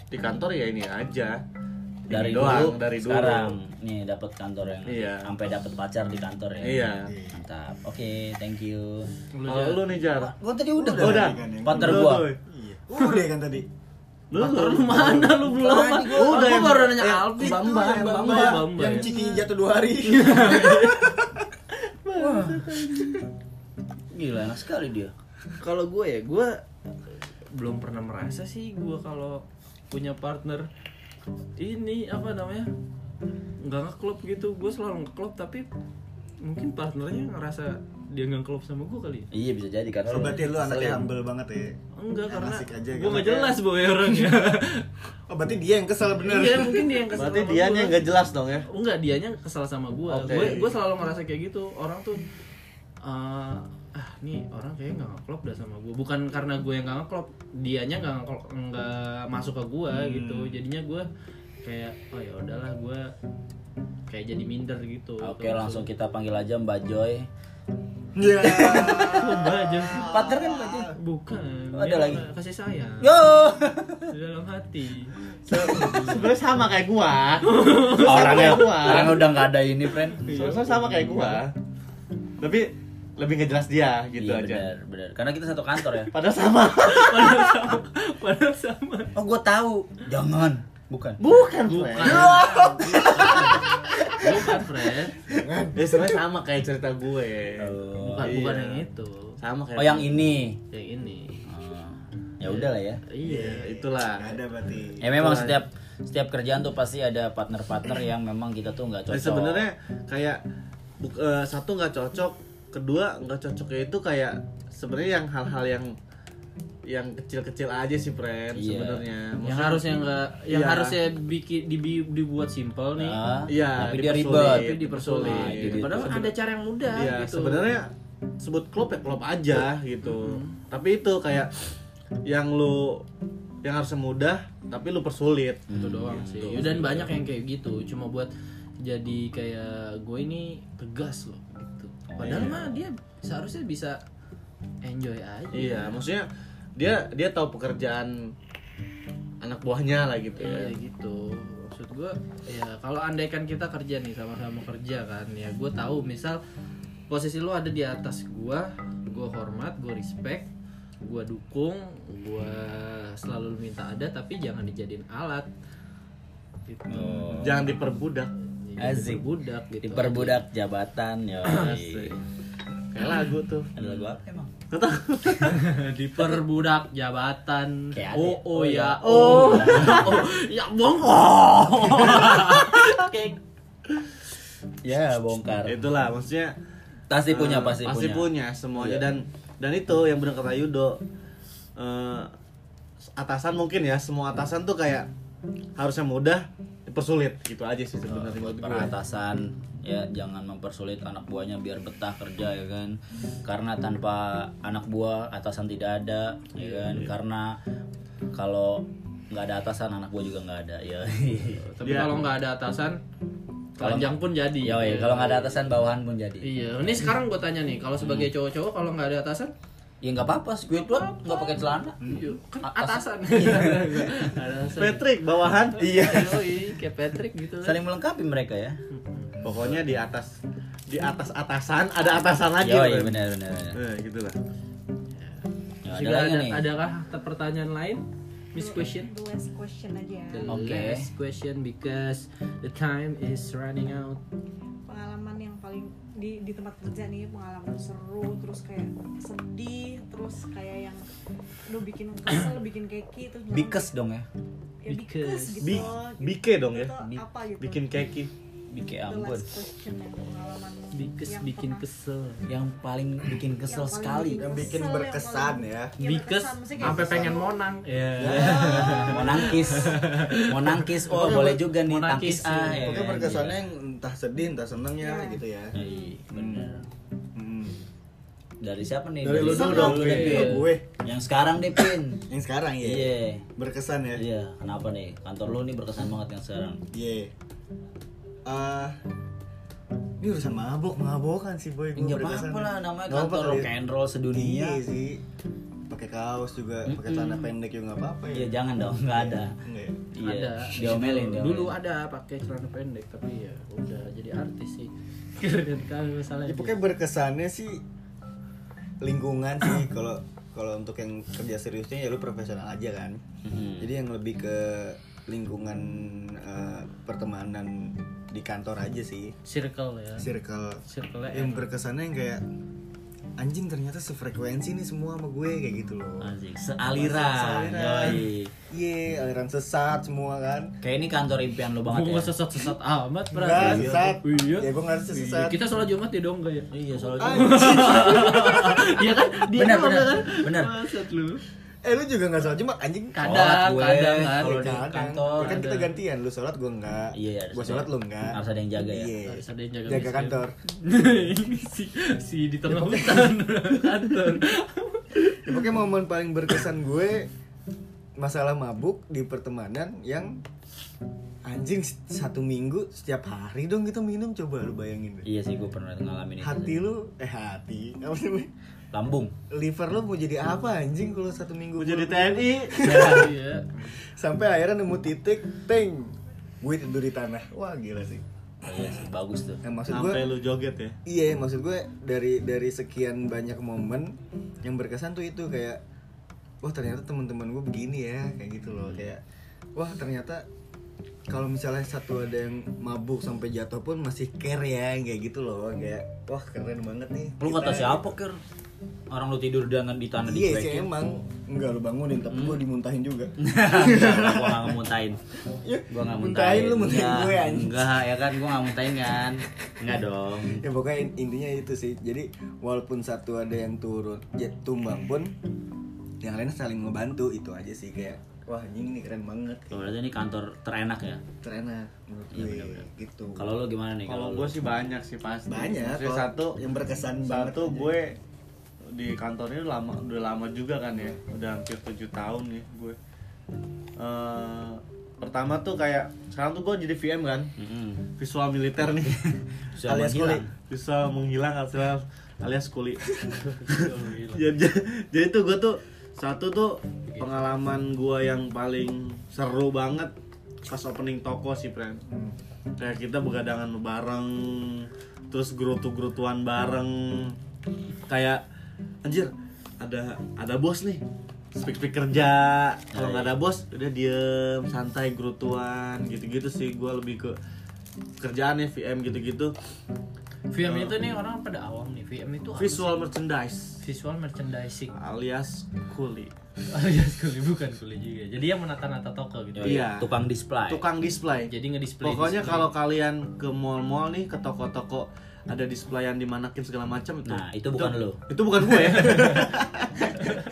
Speaker 1: di kantor ya ini aja. Ini
Speaker 3: Dari dulu,
Speaker 1: doang dari dulu.
Speaker 3: sekarang nih dapat kantor yang
Speaker 1: Iya.
Speaker 3: sampai dapat pacar di kantor ya.
Speaker 1: Iya.
Speaker 3: Mantap. Oke, thank you.
Speaker 1: Kalau lu nih Jar.
Speaker 3: Gua tadi udah. kan?
Speaker 1: Udah.
Speaker 4: Udah.
Speaker 3: Partner
Speaker 1: Lu
Speaker 3: gua.
Speaker 1: tuh.
Speaker 4: kan, Iya. Udah kan tadi.
Speaker 1: Lu
Speaker 2: Lu
Speaker 1: lu.
Speaker 2: mana lu belum? Gua
Speaker 1: Udah, yang-
Speaker 2: baru nanya
Speaker 1: yang-
Speaker 2: Alfi.
Speaker 1: Bambang,
Speaker 2: Itu,
Speaker 1: Bambang,
Speaker 2: Bambang.
Speaker 1: Bambang.
Speaker 4: Yang ciki jatuh dua hari.
Speaker 3: Gila, enak sekali dia.
Speaker 2: Kalau gue ya, gue belum pernah merasa sih gue kalau punya partner ini apa namanya nggak ngeklop gitu gue selalu ngeklop tapi mungkin partnernya ngerasa dia nggak klop sama gue kali ya?
Speaker 3: Iya bisa jadi karena
Speaker 4: Lo berarti ya, lu anaknya
Speaker 3: Selain-
Speaker 4: humble banget ya.
Speaker 2: enggak
Speaker 4: Ya,
Speaker 2: karena
Speaker 4: asik aja
Speaker 2: gue nggak
Speaker 4: gitu.
Speaker 2: jelas boy ya. orangnya
Speaker 4: Oh, berarti dia yang kesel bener.
Speaker 2: iya mungkin dia yang kesel
Speaker 1: Berarti
Speaker 2: sama
Speaker 1: dia
Speaker 2: gua.
Speaker 1: yang gak jelas dong ya.
Speaker 2: enggak dianya kesal sama gue
Speaker 1: Oke.
Speaker 2: gue gue selalu ngerasa kayak gitu orang tuh eh, ah nih orang kayaknya nggak ngeklop dah sama gue bukan karena gue yang nggak ngeklop dianya nggak ngeklop- nggak masuk ke gue gitu jadinya gue kayak oh ya udahlah gue kayak jadi minder gitu
Speaker 3: Ah, Oke langsung kita panggil aja Mbak Joy.
Speaker 4: Iya.
Speaker 2: aja
Speaker 3: Partner kan Mbak Joy.
Speaker 2: bukan
Speaker 3: Ada
Speaker 2: dia
Speaker 3: lagi?
Speaker 2: kasih sayang
Speaker 3: Yo.
Speaker 2: di dalam hati
Speaker 1: Sebenarnya sama kayak gua.
Speaker 3: Orangnya
Speaker 1: Sama gua.
Speaker 3: orang udah nggak ada ini, friend.
Speaker 1: Sebenarnya sama kayak gua. Tapi lebih nggak jelas dia gitu
Speaker 3: iya,
Speaker 1: aja.
Speaker 3: Benar, benar. Karena kita satu kantor ya.
Speaker 1: Padahal sama.
Speaker 2: padahal sama padahal sama
Speaker 3: Oh, gue tahu. Jangan. Oh, Bukan.
Speaker 1: Bukan, Fred.
Speaker 2: bukan Fred
Speaker 1: Ya sebenarnya sama kayak cerita ya. gue.
Speaker 3: Oh,
Speaker 2: bukan bukan
Speaker 1: iya.
Speaker 2: yang itu
Speaker 1: Sama kayak.
Speaker 3: oh yang ini.
Speaker 2: yang ini
Speaker 3: Oh, ya udahlah ya.
Speaker 1: Iya, itulah.
Speaker 4: Nggak ada berarti.
Speaker 3: Ya memang setiap setiap kerjaan tuh pasti ada partner-partner yang memang kita tuh nggak
Speaker 1: Dan
Speaker 3: cocok.
Speaker 1: sebenarnya kayak bu- eh, satu nggak cocok, kedua nggak cocoknya itu kayak sebenarnya yang hal-hal yang yang kecil-kecil aja sih, friend
Speaker 3: Iya.
Speaker 1: sebenarnya.
Speaker 2: yang
Speaker 1: Maksudnya-
Speaker 2: harusnya nggak yang
Speaker 1: Iya.
Speaker 2: harusnya bikin dibi- dibuat simple nih
Speaker 3: Ah,
Speaker 1: Iya,
Speaker 3: tapi dia
Speaker 1: dipersulit.
Speaker 3: ribet.
Speaker 2: tapi dipersulit
Speaker 3: Nah, itu dia
Speaker 2: padahal
Speaker 3: tuh.
Speaker 2: ada cara yang mudah
Speaker 1: Iya,
Speaker 2: gitu
Speaker 1: sebenarnya sebut klub ya klub aja gitu. Tapi itu kayak yang lu yang harusnya mudah tapi lu persulit.
Speaker 2: Iya, itu doang sih dan banyak yang kayak gitu cuma buat jadi kayak gue ini tegas loh gitu padahal mah dia seharusnya bisa enjoy aja
Speaker 1: Iya, maksudnya dia dia tahu pekerjaan anak buahnya lah gitu
Speaker 2: Iya
Speaker 1: ya.
Speaker 2: gitu maksud gue ya kalau andaikan kita kerja nih sama-sama kerja kan ya gue tahu misal posisi lu ada di atas gue gue hormat gue respect gue dukung gue selalu minta ada tapi jangan dijadiin alat gitu
Speaker 1: Jangan diperbudak.
Speaker 3: Asik.
Speaker 2: budak gitu
Speaker 3: Diperbudak jabatan ya.
Speaker 1: Kayak lagu tuh.
Speaker 3: Ada lagu apa emang?
Speaker 2: diperbudak jabatan
Speaker 3: Kayak ada. iya.
Speaker 2: oh oh ya oh oh ya bohong
Speaker 3: Ya bongkar.
Speaker 1: Itulah maksudnya
Speaker 3: Pasti punya
Speaker 1: eh,
Speaker 3: pasti, punya.
Speaker 1: pasti
Speaker 3: Ya,
Speaker 1: punya. semuanya dan dan itu yang benar kata Yudo eh, atasan mungkin ya semua atasan tuh kayak harusnya mudah dipersulit gitu aja sih sebenarnya menurut gue.
Speaker 3: peratasan ya jangan mempersulit anak buahnya biar betah kerja ya kan karena tanpa anak buah atasan tidak ada
Speaker 1: Iya,
Speaker 3: ya kan karena kalau nggak ada atasan anak buah juga nggak ada ya
Speaker 2: tapi kalau nggak ada atasan panjang pun jadi
Speaker 3: ya woy, kalau nggak ada Hmm. atasan bawahan pun jadi
Speaker 2: Iya, ini sekarang gue tanya nih, kalau sebagai cowok-cowok kalau nggak ada atasan,
Speaker 3: ya nggak apa-apa gue pun nggak pakai celana
Speaker 1: Hmm.
Speaker 2: iya, kan
Speaker 3: Atasan.
Speaker 2: atasan.
Speaker 3: Iya.
Speaker 2: atasan.
Speaker 1: Patrick bawahan
Speaker 2: Iya. Yoi, kayak Patrick gitu. kan.
Speaker 3: saling melengkapi mereka ya
Speaker 1: pokoknya di atas di atas atasan ada atasan lagi
Speaker 3: ya
Speaker 1: Bro.
Speaker 3: benar benar benar.
Speaker 1: Eh, gitu lah
Speaker 3: Ya, ada
Speaker 2: Jika
Speaker 3: lagi
Speaker 2: ada,
Speaker 3: nih
Speaker 2: adakah ter- pertanyaan lain? Miss question.
Speaker 5: The last question aja. ya.
Speaker 2: The
Speaker 3: Oke.
Speaker 2: last question because the time is running out.
Speaker 5: Pengalaman yang paling di di tempat kerja nih pengalaman seru terus kayak sedih terus kayak yang lu bikin kesel bikin gitu, keki terus bilang,
Speaker 3: bikes dong ya
Speaker 5: ya, bikes
Speaker 2: Bikes.
Speaker 5: gitu.
Speaker 1: Bi
Speaker 5: gitu.
Speaker 1: bike dong ya
Speaker 5: Itu apa gitu?
Speaker 1: bikin keki
Speaker 3: bike
Speaker 5: The
Speaker 3: ya ampun
Speaker 5: last question yang pengalaman
Speaker 2: Because
Speaker 5: yang
Speaker 2: bikin
Speaker 5: pernah-
Speaker 2: kesel.
Speaker 3: yang paling bikin
Speaker 5: yang
Speaker 3: kesel
Speaker 5: paling
Speaker 3: sekali
Speaker 4: Yang bikin
Speaker 5: kesel, yang
Speaker 4: berkesan
Speaker 5: paling-
Speaker 4: ya.
Speaker 5: yang
Speaker 2: Because
Speaker 5: berkesan, maksudnya kayak
Speaker 2: sampai
Speaker 5: kesel.
Speaker 2: pengen monang. Iya.
Speaker 3: mau nangkis mau nangkis oh
Speaker 2: Pokoknya
Speaker 3: boleh
Speaker 2: buat-
Speaker 3: juga nih
Speaker 2: mau nangkis iya,
Speaker 3: tangkis ah
Speaker 2: sih.
Speaker 3: ya
Speaker 4: Pokoknya
Speaker 3: kan?
Speaker 4: berkesannya yang entah sedih entah senengnya
Speaker 5: Iya.
Speaker 4: gitu ya.
Speaker 3: Iya, bener.
Speaker 4: Hmm.
Speaker 3: dari siapa nih
Speaker 4: Dari lu dulu
Speaker 5: dong,
Speaker 4: dong,
Speaker 2: Pin.
Speaker 4: Pin. gue.
Speaker 3: yang sekarang deh pin
Speaker 4: Yang sekarang ya.
Speaker 3: iya
Speaker 4: Berkesan ya. Iya.
Speaker 3: iya kenapa nih kantor lu nih berkesan banget yang sekarang
Speaker 4: Ah, ini urusan mabok, mabokan sih boy. Gue
Speaker 3: nggak
Speaker 4: berkesan.
Speaker 3: apa-apa lah namanya
Speaker 4: Nggak apa-apa
Speaker 3: kantor
Speaker 4: kali
Speaker 3: rock
Speaker 4: ya.
Speaker 3: and roll
Speaker 4: Iya
Speaker 3: sedunia
Speaker 4: sih. Pakai kaos juga, pakai celana pendek juga nggak apa-apa ya.
Speaker 3: iya jangan dong nggak ada
Speaker 4: Enggak ya?
Speaker 2: Ada.
Speaker 3: iya diomelin diomelin.
Speaker 2: Dulu ada pakai celana pendek tapi ya udah jadi artis sih. Keren
Speaker 7: kan
Speaker 2: kali misalnya.
Speaker 3: Iya.
Speaker 4: Ya, pokoknya berkesannya sih lingkungan sih kalau kalau untuk yang kerja seriusnya ya lu profesional aja kan.
Speaker 3: Mhm.
Speaker 4: Jadi yang lebih ke lingkungan eh, pertemanan di kantor aja sih.
Speaker 2: circle ya.
Speaker 4: Circle
Speaker 2: Circle
Speaker 4: Ya, yang berkesannya yang kayak anjing ternyata sefrekuensi nih semua sama gue kayak gitu loh
Speaker 3: Asik, sealiran.
Speaker 4: Sealiran.
Speaker 3: Yoi.
Speaker 4: Iya, aliran sesat semua kan.
Speaker 3: Kayak ini kantor impian lo banget ya.
Speaker 7: Gue gak sesat-sesat amat
Speaker 4: Enggak,
Speaker 7: berarti
Speaker 4: sesat.
Speaker 7: Iya
Speaker 4: Ya gue nggak
Speaker 7: Iya,
Speaker 4: sesat.
Speaker 7: Kita sholat Jumat ya dong gak ya?
Speaker 3: Iya,
Speaker 4: Ah,
Speaker 3: soalnya
Speaker 4: Anjing.
Speaker 7: Iya kan? Dia
Speaker 3: Benar,
Speaker 7: doang,
Speaker 3: benar.
Speaker 7: kan?
Speaker 3: Benar.
Speaker 7: Bangsat lu.
Speaker 4: Eh lu juga nggak sholat cuma anjing.
Speaker 3: Sholat
Speaker 7: Kadang,
Speaker 3: gue,
Speaker 7: kadang kan.
Speaker 3: kalau di
Speaker 4: Kadang.
Speaker 3: kantor
Speaker 4: Ya kan kita
Speaker 7: ada.
Speaker 4: gantian, lu sholat gue enggak.
Speaker 3: Iya, harus
Speaker 4: Gue
Speaker 3: ada-
Speaker 4: sholat lu enggak.
Speaker 3: harus ada yang jaga ya.
Speaker 4: Iya.
Speaker 7: Harus ada yang jaga
Speaker 4: Jaga
Speaker 7: masjid.
Speaker 4: kantor.
Speaker 7: si, si di tengah
Speaker 3: Iya,
Speaker 7: hutan kantor.
Speaker 4: Ya, pokoknya momen paling berkesan gue masalah mabuk di pertemanan yang anjing satu minggu setiap hari dong kita minum coba lu bayangin deh.
Speaker 3: Iya sih, gue pernah ngalamin itu.
Speaker 4: Hati
Speaker 3: sih.
Speaker 4: lu eh hati apa namanya?
Speaker 3: lambung.
Speaker 4: Liver lu mau jadi apa anjing kalau satu minggu
Speaker 1: Gue jadi
Speaker 4: belum-
Speaker 1: TNI
Speaker 7: Iya.
Speaker 4: sampai akhirnya nemu titik ting gue tidur di tanah wah gila sih
Speaker 3: Iya sih, bagus tuh.
Speaker 4: yang Eh, maksud gue
Speaker 1: sampai lu joget ya
Speaker 4: iya maksud gue dari dari sekian banyak momen yang berkesan tuh itu kayak wah ternyata teman-teman gue begini ya kayak gitu loh
Speaker 1: Hmm.
Speaker 4: kayak wah ternyata kalau misalnya satu ada yang mabuk sampai jatuh pun masih care ya kayak gitu loh kayak wah keren banget nih
Speaker 3: Lu kata
Speaker 4: Kita-
Speaker 3: siapa, Ker? Orang lu tidur dengan di tanah
Speaker 4: iya sih
Speaker 3: dicuekin.
Speaker 4: emang enggak lu bangunin tapi
Speaker 1: Hmm.
Speaker 4: gue dimuntahin juga
Speaker 3: Enggak, gua gak ngemuntahin.
Speaker 4: Ya,
Speaker 3: Gua gak
Speaker 4: muntahin
Speaker 3: muntahin.
Speaker 4: lu muntahin
Speaker 3: Enggak,
Speaker 4: gue anjing
Speaker 3: Enggak, ya kan gua gak muntahin kan. Enggak dong.
Speaker 4: ya pokoknya in- intinya itu sih jadi walaupun satu ada yang turun ya tumbang pun yang lain saling membantu itu aja sih kayak wah anjing ini keren banget
Speaker 3: Tuh, Berarti ini kantor terenak ya.
Speaker 4: terenak menurut
Speaker 3: Iya,
Speaker 4: gue
Speaker 3: benar-benar.
Speaker 4: gitu
Speaker 3: Kalau lu gimana nih?
Speaker 1: kalau
Speaker 3: lu?
Speaker 1: gue sih banyak sih pasti
Speaker 4: banyak
Speaker 1: Maksudnya
Speaker 4: kalau
Speaker 1: satu
Speaker 4: yang berkesan banget
Speaker 1: satu
Speaker 4: aja.
Speaker 1: gue di kantornya lama udah lama juga kan ya udah hampir tujuh tahun nih gue Eh, pertama tuh kayak sekarang tuh gue jadi VM kan
Speaker 3: Mm-mm.
Speaker 1: visual militer nih
Speaker 3: Bisa
Speaker 4: alias
Speaker 3: menghilang.
Speaker 4: kulit.
Speaker 1: bisa menghilang alias alias kuli Ya, j- jadi tuh gue tuh satu tuh pengalaman gue yang paling seru banget pas opening toko sih friend
Speaker 4: Hmm.
Speaker 1: kayak kita begadangan bareng terus gerutu-gerutuan bareng kayak anjir ada ada bos nih speak speak kerja kalau nggak
Speaker 3: Iya,
Speaker 1: ada bos udah diem santai gerutuan gitu-gitu sih gua lebih ke kerjaan ya VM gitu-gitu
Speaker 7: VM
Speaker 3: Oh.
Speaker 7: itu nih orang pada awam nih. VM itu apa sih?
Speaker 1: visual merchandise
Speaker 7: visual merchandising
Speaker 1: alias kuli
Speaker 7: alias kuli bukan kuli juga. Jadi yang menata-nata toko gitu.
Speaker 3: Yoi,
Speaker 1: Iya.
Speaker 3: Tukang display.
Speaker 1: tukang display
Speaker 7: Jadi ngedisplay.
Speaker 1: pokoknya
Speaker 7: display.
Speaker 1: kalau kalian ke mall-mall nih ke toko-toko ada displayan dimanakin segala macam itu
Speaker 3: Nah, itu bukan lu.
Speaker 1: itu bukan gue ya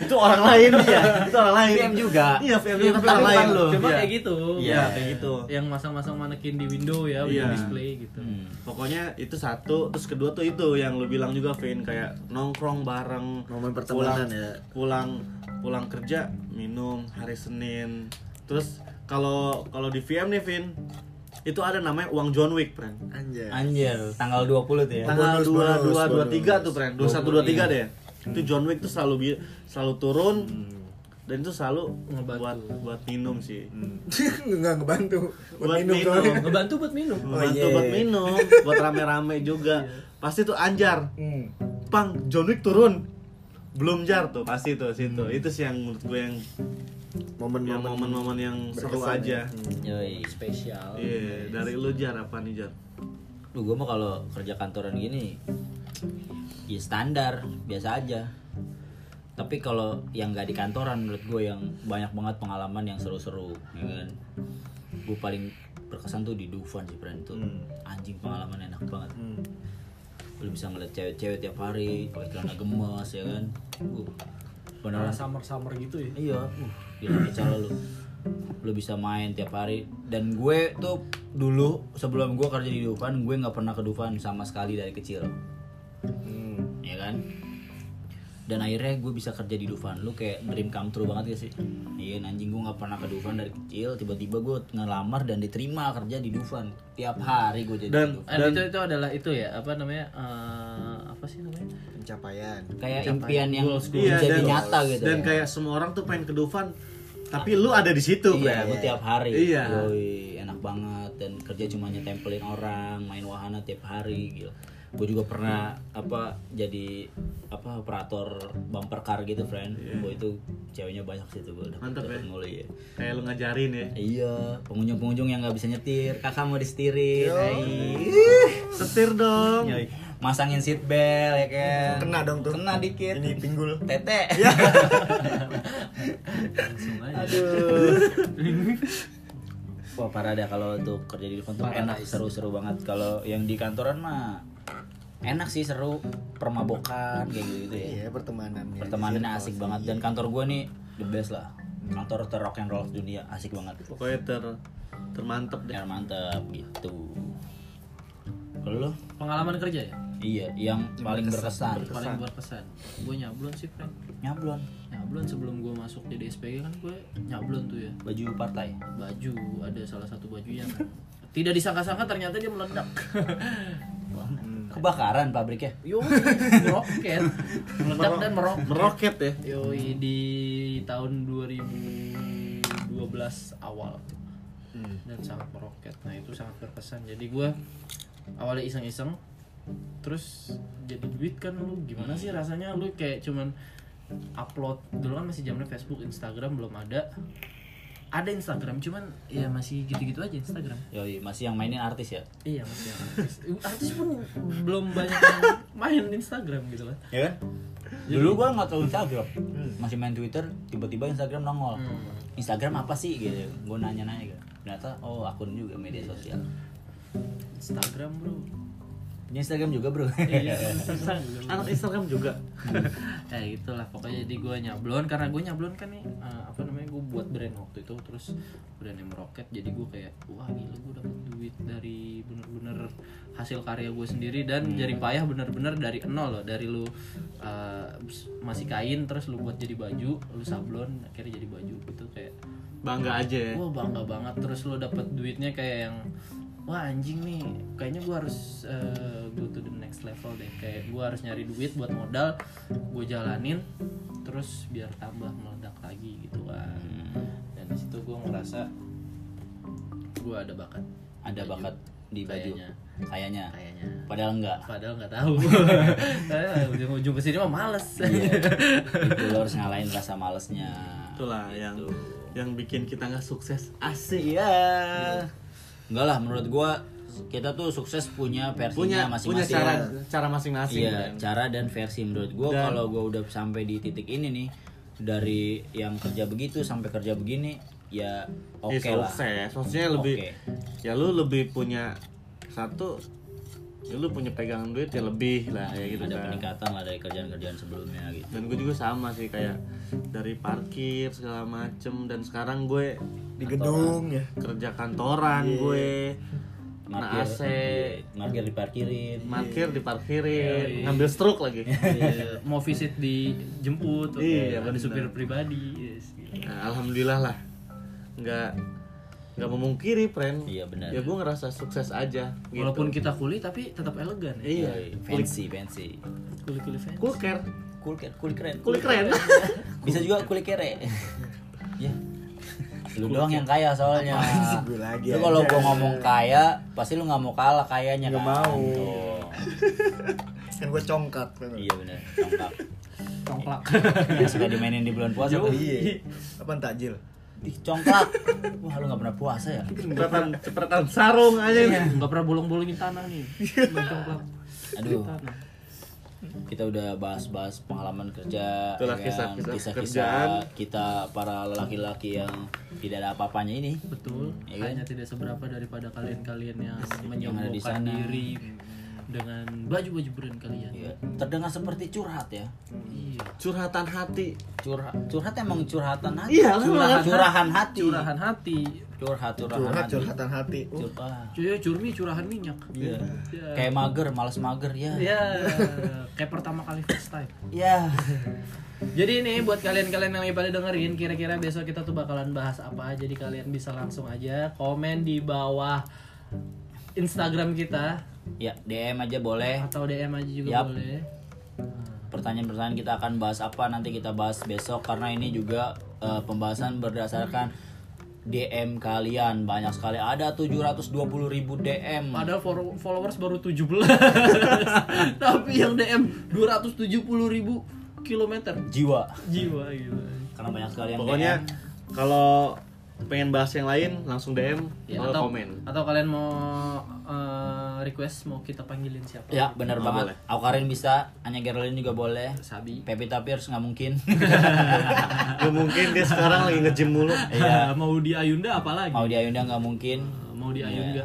Speaker 1: itu orang lain ya itu orang lain
Speaker 3: PM juga.
Speaker 1: iya
Speaker 7: Iya,
Speaker 1: VM
Speaker 7: tapi
Speaker 1: juga tapi orang lain
Speaker 7: bukan lu. Cuma
Speaker 1: Iya.
Speaker 7: kayak gitu.
Speaker 1: Iya, kayak gitu.
Speaker 7: Yang masang-masang manekin di window ya, window
Speaker 1: Iya.
Speaker 7: display gitu.
Speaker 3: Hmm.
Speaker 1: pokoknya itu satu terus kedua tuh itu yang lu bilang juga Vin kayak nongkrong bareng
Speaker 4: Momen
Speaker 1: pulang,
Speaker 4: pertemanan ya.
Speaker 1: pulang pulang kerja minum hari Senin terus kalau kalau di VM nih Vin itu ada namanya uang John Wick friend
Speaker 4: anjay
Speaker 3: Anjir, tanggal 20 tuh ya.
Speaker 1: tanggal
Speaker 4: Iya. Bonus,
Speaker 1: dua
Speaker 4: bonus, Iya.
Speaker 1: dua dua tiga
Speaker 4: bonus.
Speaker 1: tuh tren dua satu dua tiga deh itu John Wick tuh selalu bi- selalu turun
Speaker 4: Hmm.
Speaker 1: dan itu selalu
Speaker 7: Ngebantu.
Speaker 1: buat buat minum sih
Speaker 4: Hmm. nggak ngebantu
Speaker 1: Buat
Speaker 4: buat minum
Speaker 1: minum.
Speaker 4: doang
Speaker 7: Ngebantu buat minum.
Speaker 1: Ngebantu
Speaker 4: yeah.
Speaker 1: buat minum buat rame-rame juga pasti tuh anjar
Speaker 4: Iya. Hmm.
Speaker 1: pang John Wick turun belum jar tuh pasti tuh situ itu sih yang menurut gue yang yang
Speaker 4: Hmm. Iya, momen-momen
Speaker 1: momen-momen yang seru
Speaker 4: berkesan
Speaker 1: aja
Speaker 4: ya. Hmm.
Speaker 3: Yoi.
Speaker 7: Spesial.
Speaker 1: Iya, dari lu jar apa nih jar?
Speaker 4: Iya.
Speaker 3: Lu gue mah kalau kerja kantoran gini ya standar, biasa aja. Tapi kalau yang nggak di kantoran menurut gue yang banyak banget pengalaman yang seru-seru, ya kan? Gue paling berkesan tuh di Dufan sih, Pren. Tuh anjing pengalaman enak banget. Lu bisa ngeliat cewek-cewek tiap hari, pakai celana gemes, ya kan? Uh, beneran
Speaker 7: Orang summer-summer gitu ya.
Speaker 3: Iya, uh, gila pecah lu. Lu bisa main tiap hari dan gue tuh dulu sebelum gue kerja di Dufan, gue nggak pernah ke Dufan sama sekali dari kecil.
Speaker 1: Hmm.
Speaker 3: Ya kan? Dan akhirnya gue bisa kerja di Dufan. Lu kayak dream come true banget gak sih? Iya, anjing gue nggak pernah ke Dufan dari kecil. Tiba-tiba gue ngelamar dan diterima kerja di Dufan. Tiap hari gue jadi gitu.
Speaker 1: Dan-
Speaker 3: di Dufan.
Speaker 7: Eh, itu itu adalah itu ya, apa namanya? eh, apa sih namanya?
Speaker 4: pencapaian
Speaker 3: Kayak impian yang
Speaker 7: goals, goals.
Speaker 3: jadi
Speaker 1: Iya, dan,
Speaker 3: nyata gitu.
Speaker 1: dan
Speaker 3: ya.
Speaker 1: kayak semua orang tuh pengen ke Dufan, tapi lu ada di situ.
Speaker 3: Iya,
Speaker 1: Pren.
Speaker 3: gue tiap hari.
Speaker 1: Iya.
Speaker 3: Yoi, enak banget dan kerja cuma nyetempelin orang, main wahana tiap hari gitu. Gue juga pernah apa jadi apa operator bumper car gitu, friend. Gue itu ceweknya banyak sih tuh gue dapet,
Speaker 1: Mantap Iya. ya.
Speaker 3: dapet mulu, iya.
Speaker 1: Kayak lu ngajarin ya.
Speaker 3: Iya, pengunjung-pengunjung yang nggak bisa nyetir, kakak mau disetirin. Hai.
Speaker 1: Setir dong.
Speaker 3: Yoi. masangin seat belt ya kan
Speaker 4: Kena dong tuh.
Speaker 3: kena dikit
Speaker 4: Ini pinggul. Ya.
Speaker 3: tete
Speaker 2: Langsung aja.
Speaker 3: aduh wah parah dah kalau untuk kerja di depan tuh enak seru-seru banget kalau yang di kantoran mah enak sih seru permabokan kayak gitu ya
Speaker 4: Iya, pertemanan. ya.
Speaker 3: pertemanannya
Speaker 4: Jadi,
Speaker 3: asik
Speaker 4: kalau
Speaker 3: banget
Speaker 4: sih,
Speaker 3: dan kantor gue nih the best lah kantor ter rock and roll dunia asik banget
Speaker 1: pokoknya ter termantep deh
Speaker 3: dan mantep gitu kalau lo
Speaker 2: Pengalaman kerja ya?
Speaker 3: iya yang paling berkesan,
Speaker 2: Paling berkesan. Gue nyablon sih, Frank.
Speaker 3: nyablon
Speaker 2: Nyablon sebelum gue masuk jadi SPG kan gue nyablon tuh ya.
Speaker 3: baju partai
Speaker 2: Baju ada salah satu baju yang tidak disangka-sangka ternyata dia meledak.
Speaker 3: kebakaran pabriknya
Speaker 2: Yo, meroket. Meledak dan meroket.
Speaker 1: meroket ya
Speaker 2: Yoi di tahun 2012 awal dan sangat meroket. Nah itu sangat berkesan. Jadi gue awalnya iseng-iseng, terus jadi duit kan lu gimana sih rasanya lu kayak cuman upload dulu kan masih zamannya Facebook, Instagram belum ada. Ada Instagram cuman ya masih gitu-gitu aja Instagram.
Speaker 3: Yoi, masih yang mainin artis ya
Speaker 2: Iya masih yang artis. artis pun belum banyak yang main Instagram gitu kan.
Speaker 3: ya kan dulu gua nggak tahu Instagram masih main Twitter tiba-tiba Instagram nongol Instagram apa sih gitu gua nanya-nanya gitu ternyata oh akun juga media sosial
Speaker 2: Instagram bro.
Speaker 3: punya Instagram juga bro
Speaker 2: Iya, Instagram.
Speaker 1: anak Instagram juga
Speaker 2: ya itulah pokoknya jadi gue nyablon karena gue nyablon kan nih eh, apa namanya gue buat brand waktu itu terus brand yang meroket jadi gue kayak wah gila gue dapet duit dari bener-bener hasil karya gue sendiri dan jari payah bener-bener dari nol loh dari lu eh, masih kain terus lu buat jadi baju lu sablon akhirnya jadi baju gitu kayak
Speaker 1: bangga aja ya
Speaker 2: wah bangga banget terus lo dapet duitnya kayak yang wah anjing nih kayaknya gue harus eh, go to the next level deh kayak gue harus nyari duit buat modal gue jalanin terus biar tambah meledak lagi gitu kan
Speaker 3: Hmm.
Speaker 2: dan di situ gue ngerasa gue ada bakat
Speaker 3: ada bakat di baju
Speaker 2: Kayaknya.
Speaker 3: kayaknya
Speaker 2: kayaknya
Speaker 3: padahal enggak
Speaker 2: padahal nggak tahu saya ujung-ujung kesini mah males
Speaker 3: itu lo harus ngalahin rasa malesnya
Speaker 1: itulah yang yang bikin kita nggak sukses
Speaker 3: asik ya enggak lah menurut gua kita tuh sukses punya
Speaker 1: punya
Speaker 3: versinya
Speaker 1: punya
Speaker 3: masing-masing ya.
Speaker 1: cara cara masing-masing
Speaker 3: Iya,
Speaker 1: kan.
Speaker 3: cara dan versi menurut gue
Speaker 1: Dan-
Speaker 3: kalau gue udah sampai di titik ini nih dari yang kerja begitu sampai kerja begini ya oke
Speaker 1: Ya,
Speaker 3: lah.
Speaker 1: sukses maksudnya lebih
Speaker 3: Oke.
Speaker 1: ya lu lebih punya satu ya lu punya pegangan duit ya lebih lah ya gitu
Speaker 3: Ada
Speaker 1: kan.
Speaker 3: peningkatan lah dari kerjaan-kerjaan sebelumnya gitu.
Speaker 1: dan gue juga sama sih kayak dari parkir segala macem dan sekarang gue
Speaker 4: Di gedung ya.
Speaker 1: kerja kantoran
Speaker 3: Iya.
Speaker 1: gue kena
Speaker 3: Markir,
Speaker 1: AC
Speaker 3: markir diparkirin.
Speaker 1: parkir diparkirin ngambil struk lagi
Speaker 2: Iya, mau visit dijemput
Speaker 1: Iya,
Speaker 2: ada
Speaker 1: bener.
Speaker 2: supir pribadi yes, gitu.
Speaker 1: Nah, alhamdulillah lah nggak nggak memungkiri friend
Speaker 3: Iya, benar.
Speaker 1: ya gue ngerasa sukses aja gitu.
Speaker 2: Walaupun kita kuli tapi tetap elegan ya.
Speaker 1: iya
Speaker 3: Yoi, Fancy, fancy.
Speaker 2: Kuli-kuli fans.
Speaker 1: cool care
Speaker 3: Cool, keren, cool keren.
Speaker 1: cool keren
Speaker 3: Bisa juga kulit kere. ya. Lu doang yang kaya soalnya.
Speaker 4: sih gue lagi
Speaker 3: Lu kalau
Speaker 4: aja?
Speaker 3: gue ngomong kaya, pasti lu nggak mau kalah kayanya
Speaker 4: Nggak
Speaker 3: kan.
Speaker 4: mau.
Speaker 3: Tuh.
Speaker 4: Kan gue congkak. kan.
Speaker 3: Iya benar. Congkak.
Speaker 2: Tongklak.
Speaker 3: Yang suka dimainin di bulan puasa tuh.
Speaker 4: Iya. Apaan tajil?
Speaker 3: Ih, congklak. Wah, lu gak pernah puasa ya?
Speaker 1: cepretan cepretan sarung aja
Speaker 2: Enggak Iya, pernah bolong-bolongin tanah nih. Main Tongklak.
Speaker 3: Aduh. Kita udah bahas-bahas pengalaman kerja, ya
Speaker 1: Itulah
Speaker 3: kan?
Speaker 1: kisah-kisah
Speaker 3: kisah-kisah
Speaker 1: kerjaan.
Speaker 3: kita para laki-laki yang tidak ada apa-apanya ini.
Speaker 2: Betul.
Speaker 3: Iya kan? Iya,
Speaker 2: Hanya tidak seberapa daripada kalian-kalian
Speaker 3: yang
Speaker 2: yang
Speaker 3: ada di
Speaker 2: menyombongkan
Speaker 3: sana.
Speaker 2: diri dengan baju-baju brand kalian.
Speaker 3: Ya, terdengar seperti curhat ya.
Speaker 2: Iya.
Speaker 1: curhatan hati
Speaker 3: Curhat, curhat emang curhatan hati.
Speaker 1: Iya, lu
Speaker 3: curahan,
Speaker 1: malah-
Speaker 3: curahan hati.
Speaker 2: Curahan hati.
Speaker 3: Curhat, curahan
Speaker 4: Curhat,
Speaker 3: hati.
Speaker 4: curhatan hati. Uh,
Speaker 3: Cur- ah,
Speaker 2: Cuy, curmi curahan minyak.
Speaker 3: iya.
Speaker 2: Ya.
Speaker 3: Kayak mager, males mager ya.
Speaker 2: Ya, kayak pertama kali first time.
Speaker 3: Ya.
Speaker 2: Jadi ini buat kalian-kalian yang pada dengerin, kira-kira besok kita tuh bakalan bahas apa? Jadi kalian bisa langsung aja komen di bawah Instagram kita
Speaker 3: Ya, DM aja boleh.
Speaker 2: atau DM aja juga
Speaker 3: Yap.
Speaker 2: boleh.
Speaker 3: pertanyaan-pertanyaan kita akan bahas apa nanti kita bahas besok karena ini juga eh, pembahasan berdasarkan DM kalian banyak sekali ada 720.000 DM
Speaker 2: Padahal for- followers baru 17 Tapi yang DM 270.000 ribu kilometer
Speaker 3: jiwa
Speaker 2: Jiwa gitu
Speaker 3: karena banyak sekali yang
Speaker 1: pokoknya
Speaker 3: DM
Speaker 1: kalau pengen bahas yang lain langsung DM
Speaker 2: Ya,
Speaker 1: atau
Speaker 2: atau,
Speaker 1: komen
Speaker 2: atau kalian mau eh, request mau kita panggilin siapa?
Speaker 3: Ya bener
Speaker 1: Oh,
Speaker 3: banget.
Speaker 1: boleh.
Speaker 3: Aku Karin bisa, Anya Geraldine juga boleh.
Speaker 2: Sabi.
Speaker 3: Pevita Pierce nggak mungkin.
Speaker 1: Ya mungkin dia sekarang lagi nge-gym mulu.
Speaker 2: Iya. Oh. mau di Ayunda apalagi?
Speaker 3: mau di Ayunda nggak mungkin. Ya.
Speaker 2: Mau di Ayunda.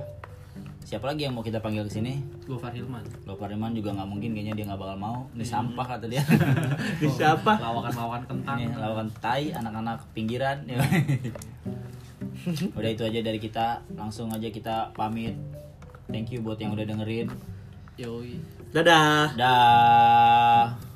Speaker 3: Siapa lagi yang mau kita panggil ke sini?
Speaker 2: Gofar Hilman.
Speaker 3: Gopar Iman juga nggak mungkin kayaknya dia nggak bakal mau. Ini
Speaker 2: Iya.
Speaker 3: sampah kata dia.
Speaker 1: Ini siapa?
Speaker 2: Lawakan-lawakan kentang.
Speaker 3: Ini lawan tai anak-anak pinggiran.
Speaker 2: Iya.
Speaker 3: udah itu aja dari kita. Langsung aja kita pamit. Thank you buat yang udah dengerin.
Speaker 2: Yoi.
Speaker 1: Dadah.
Speaker 3: Dah.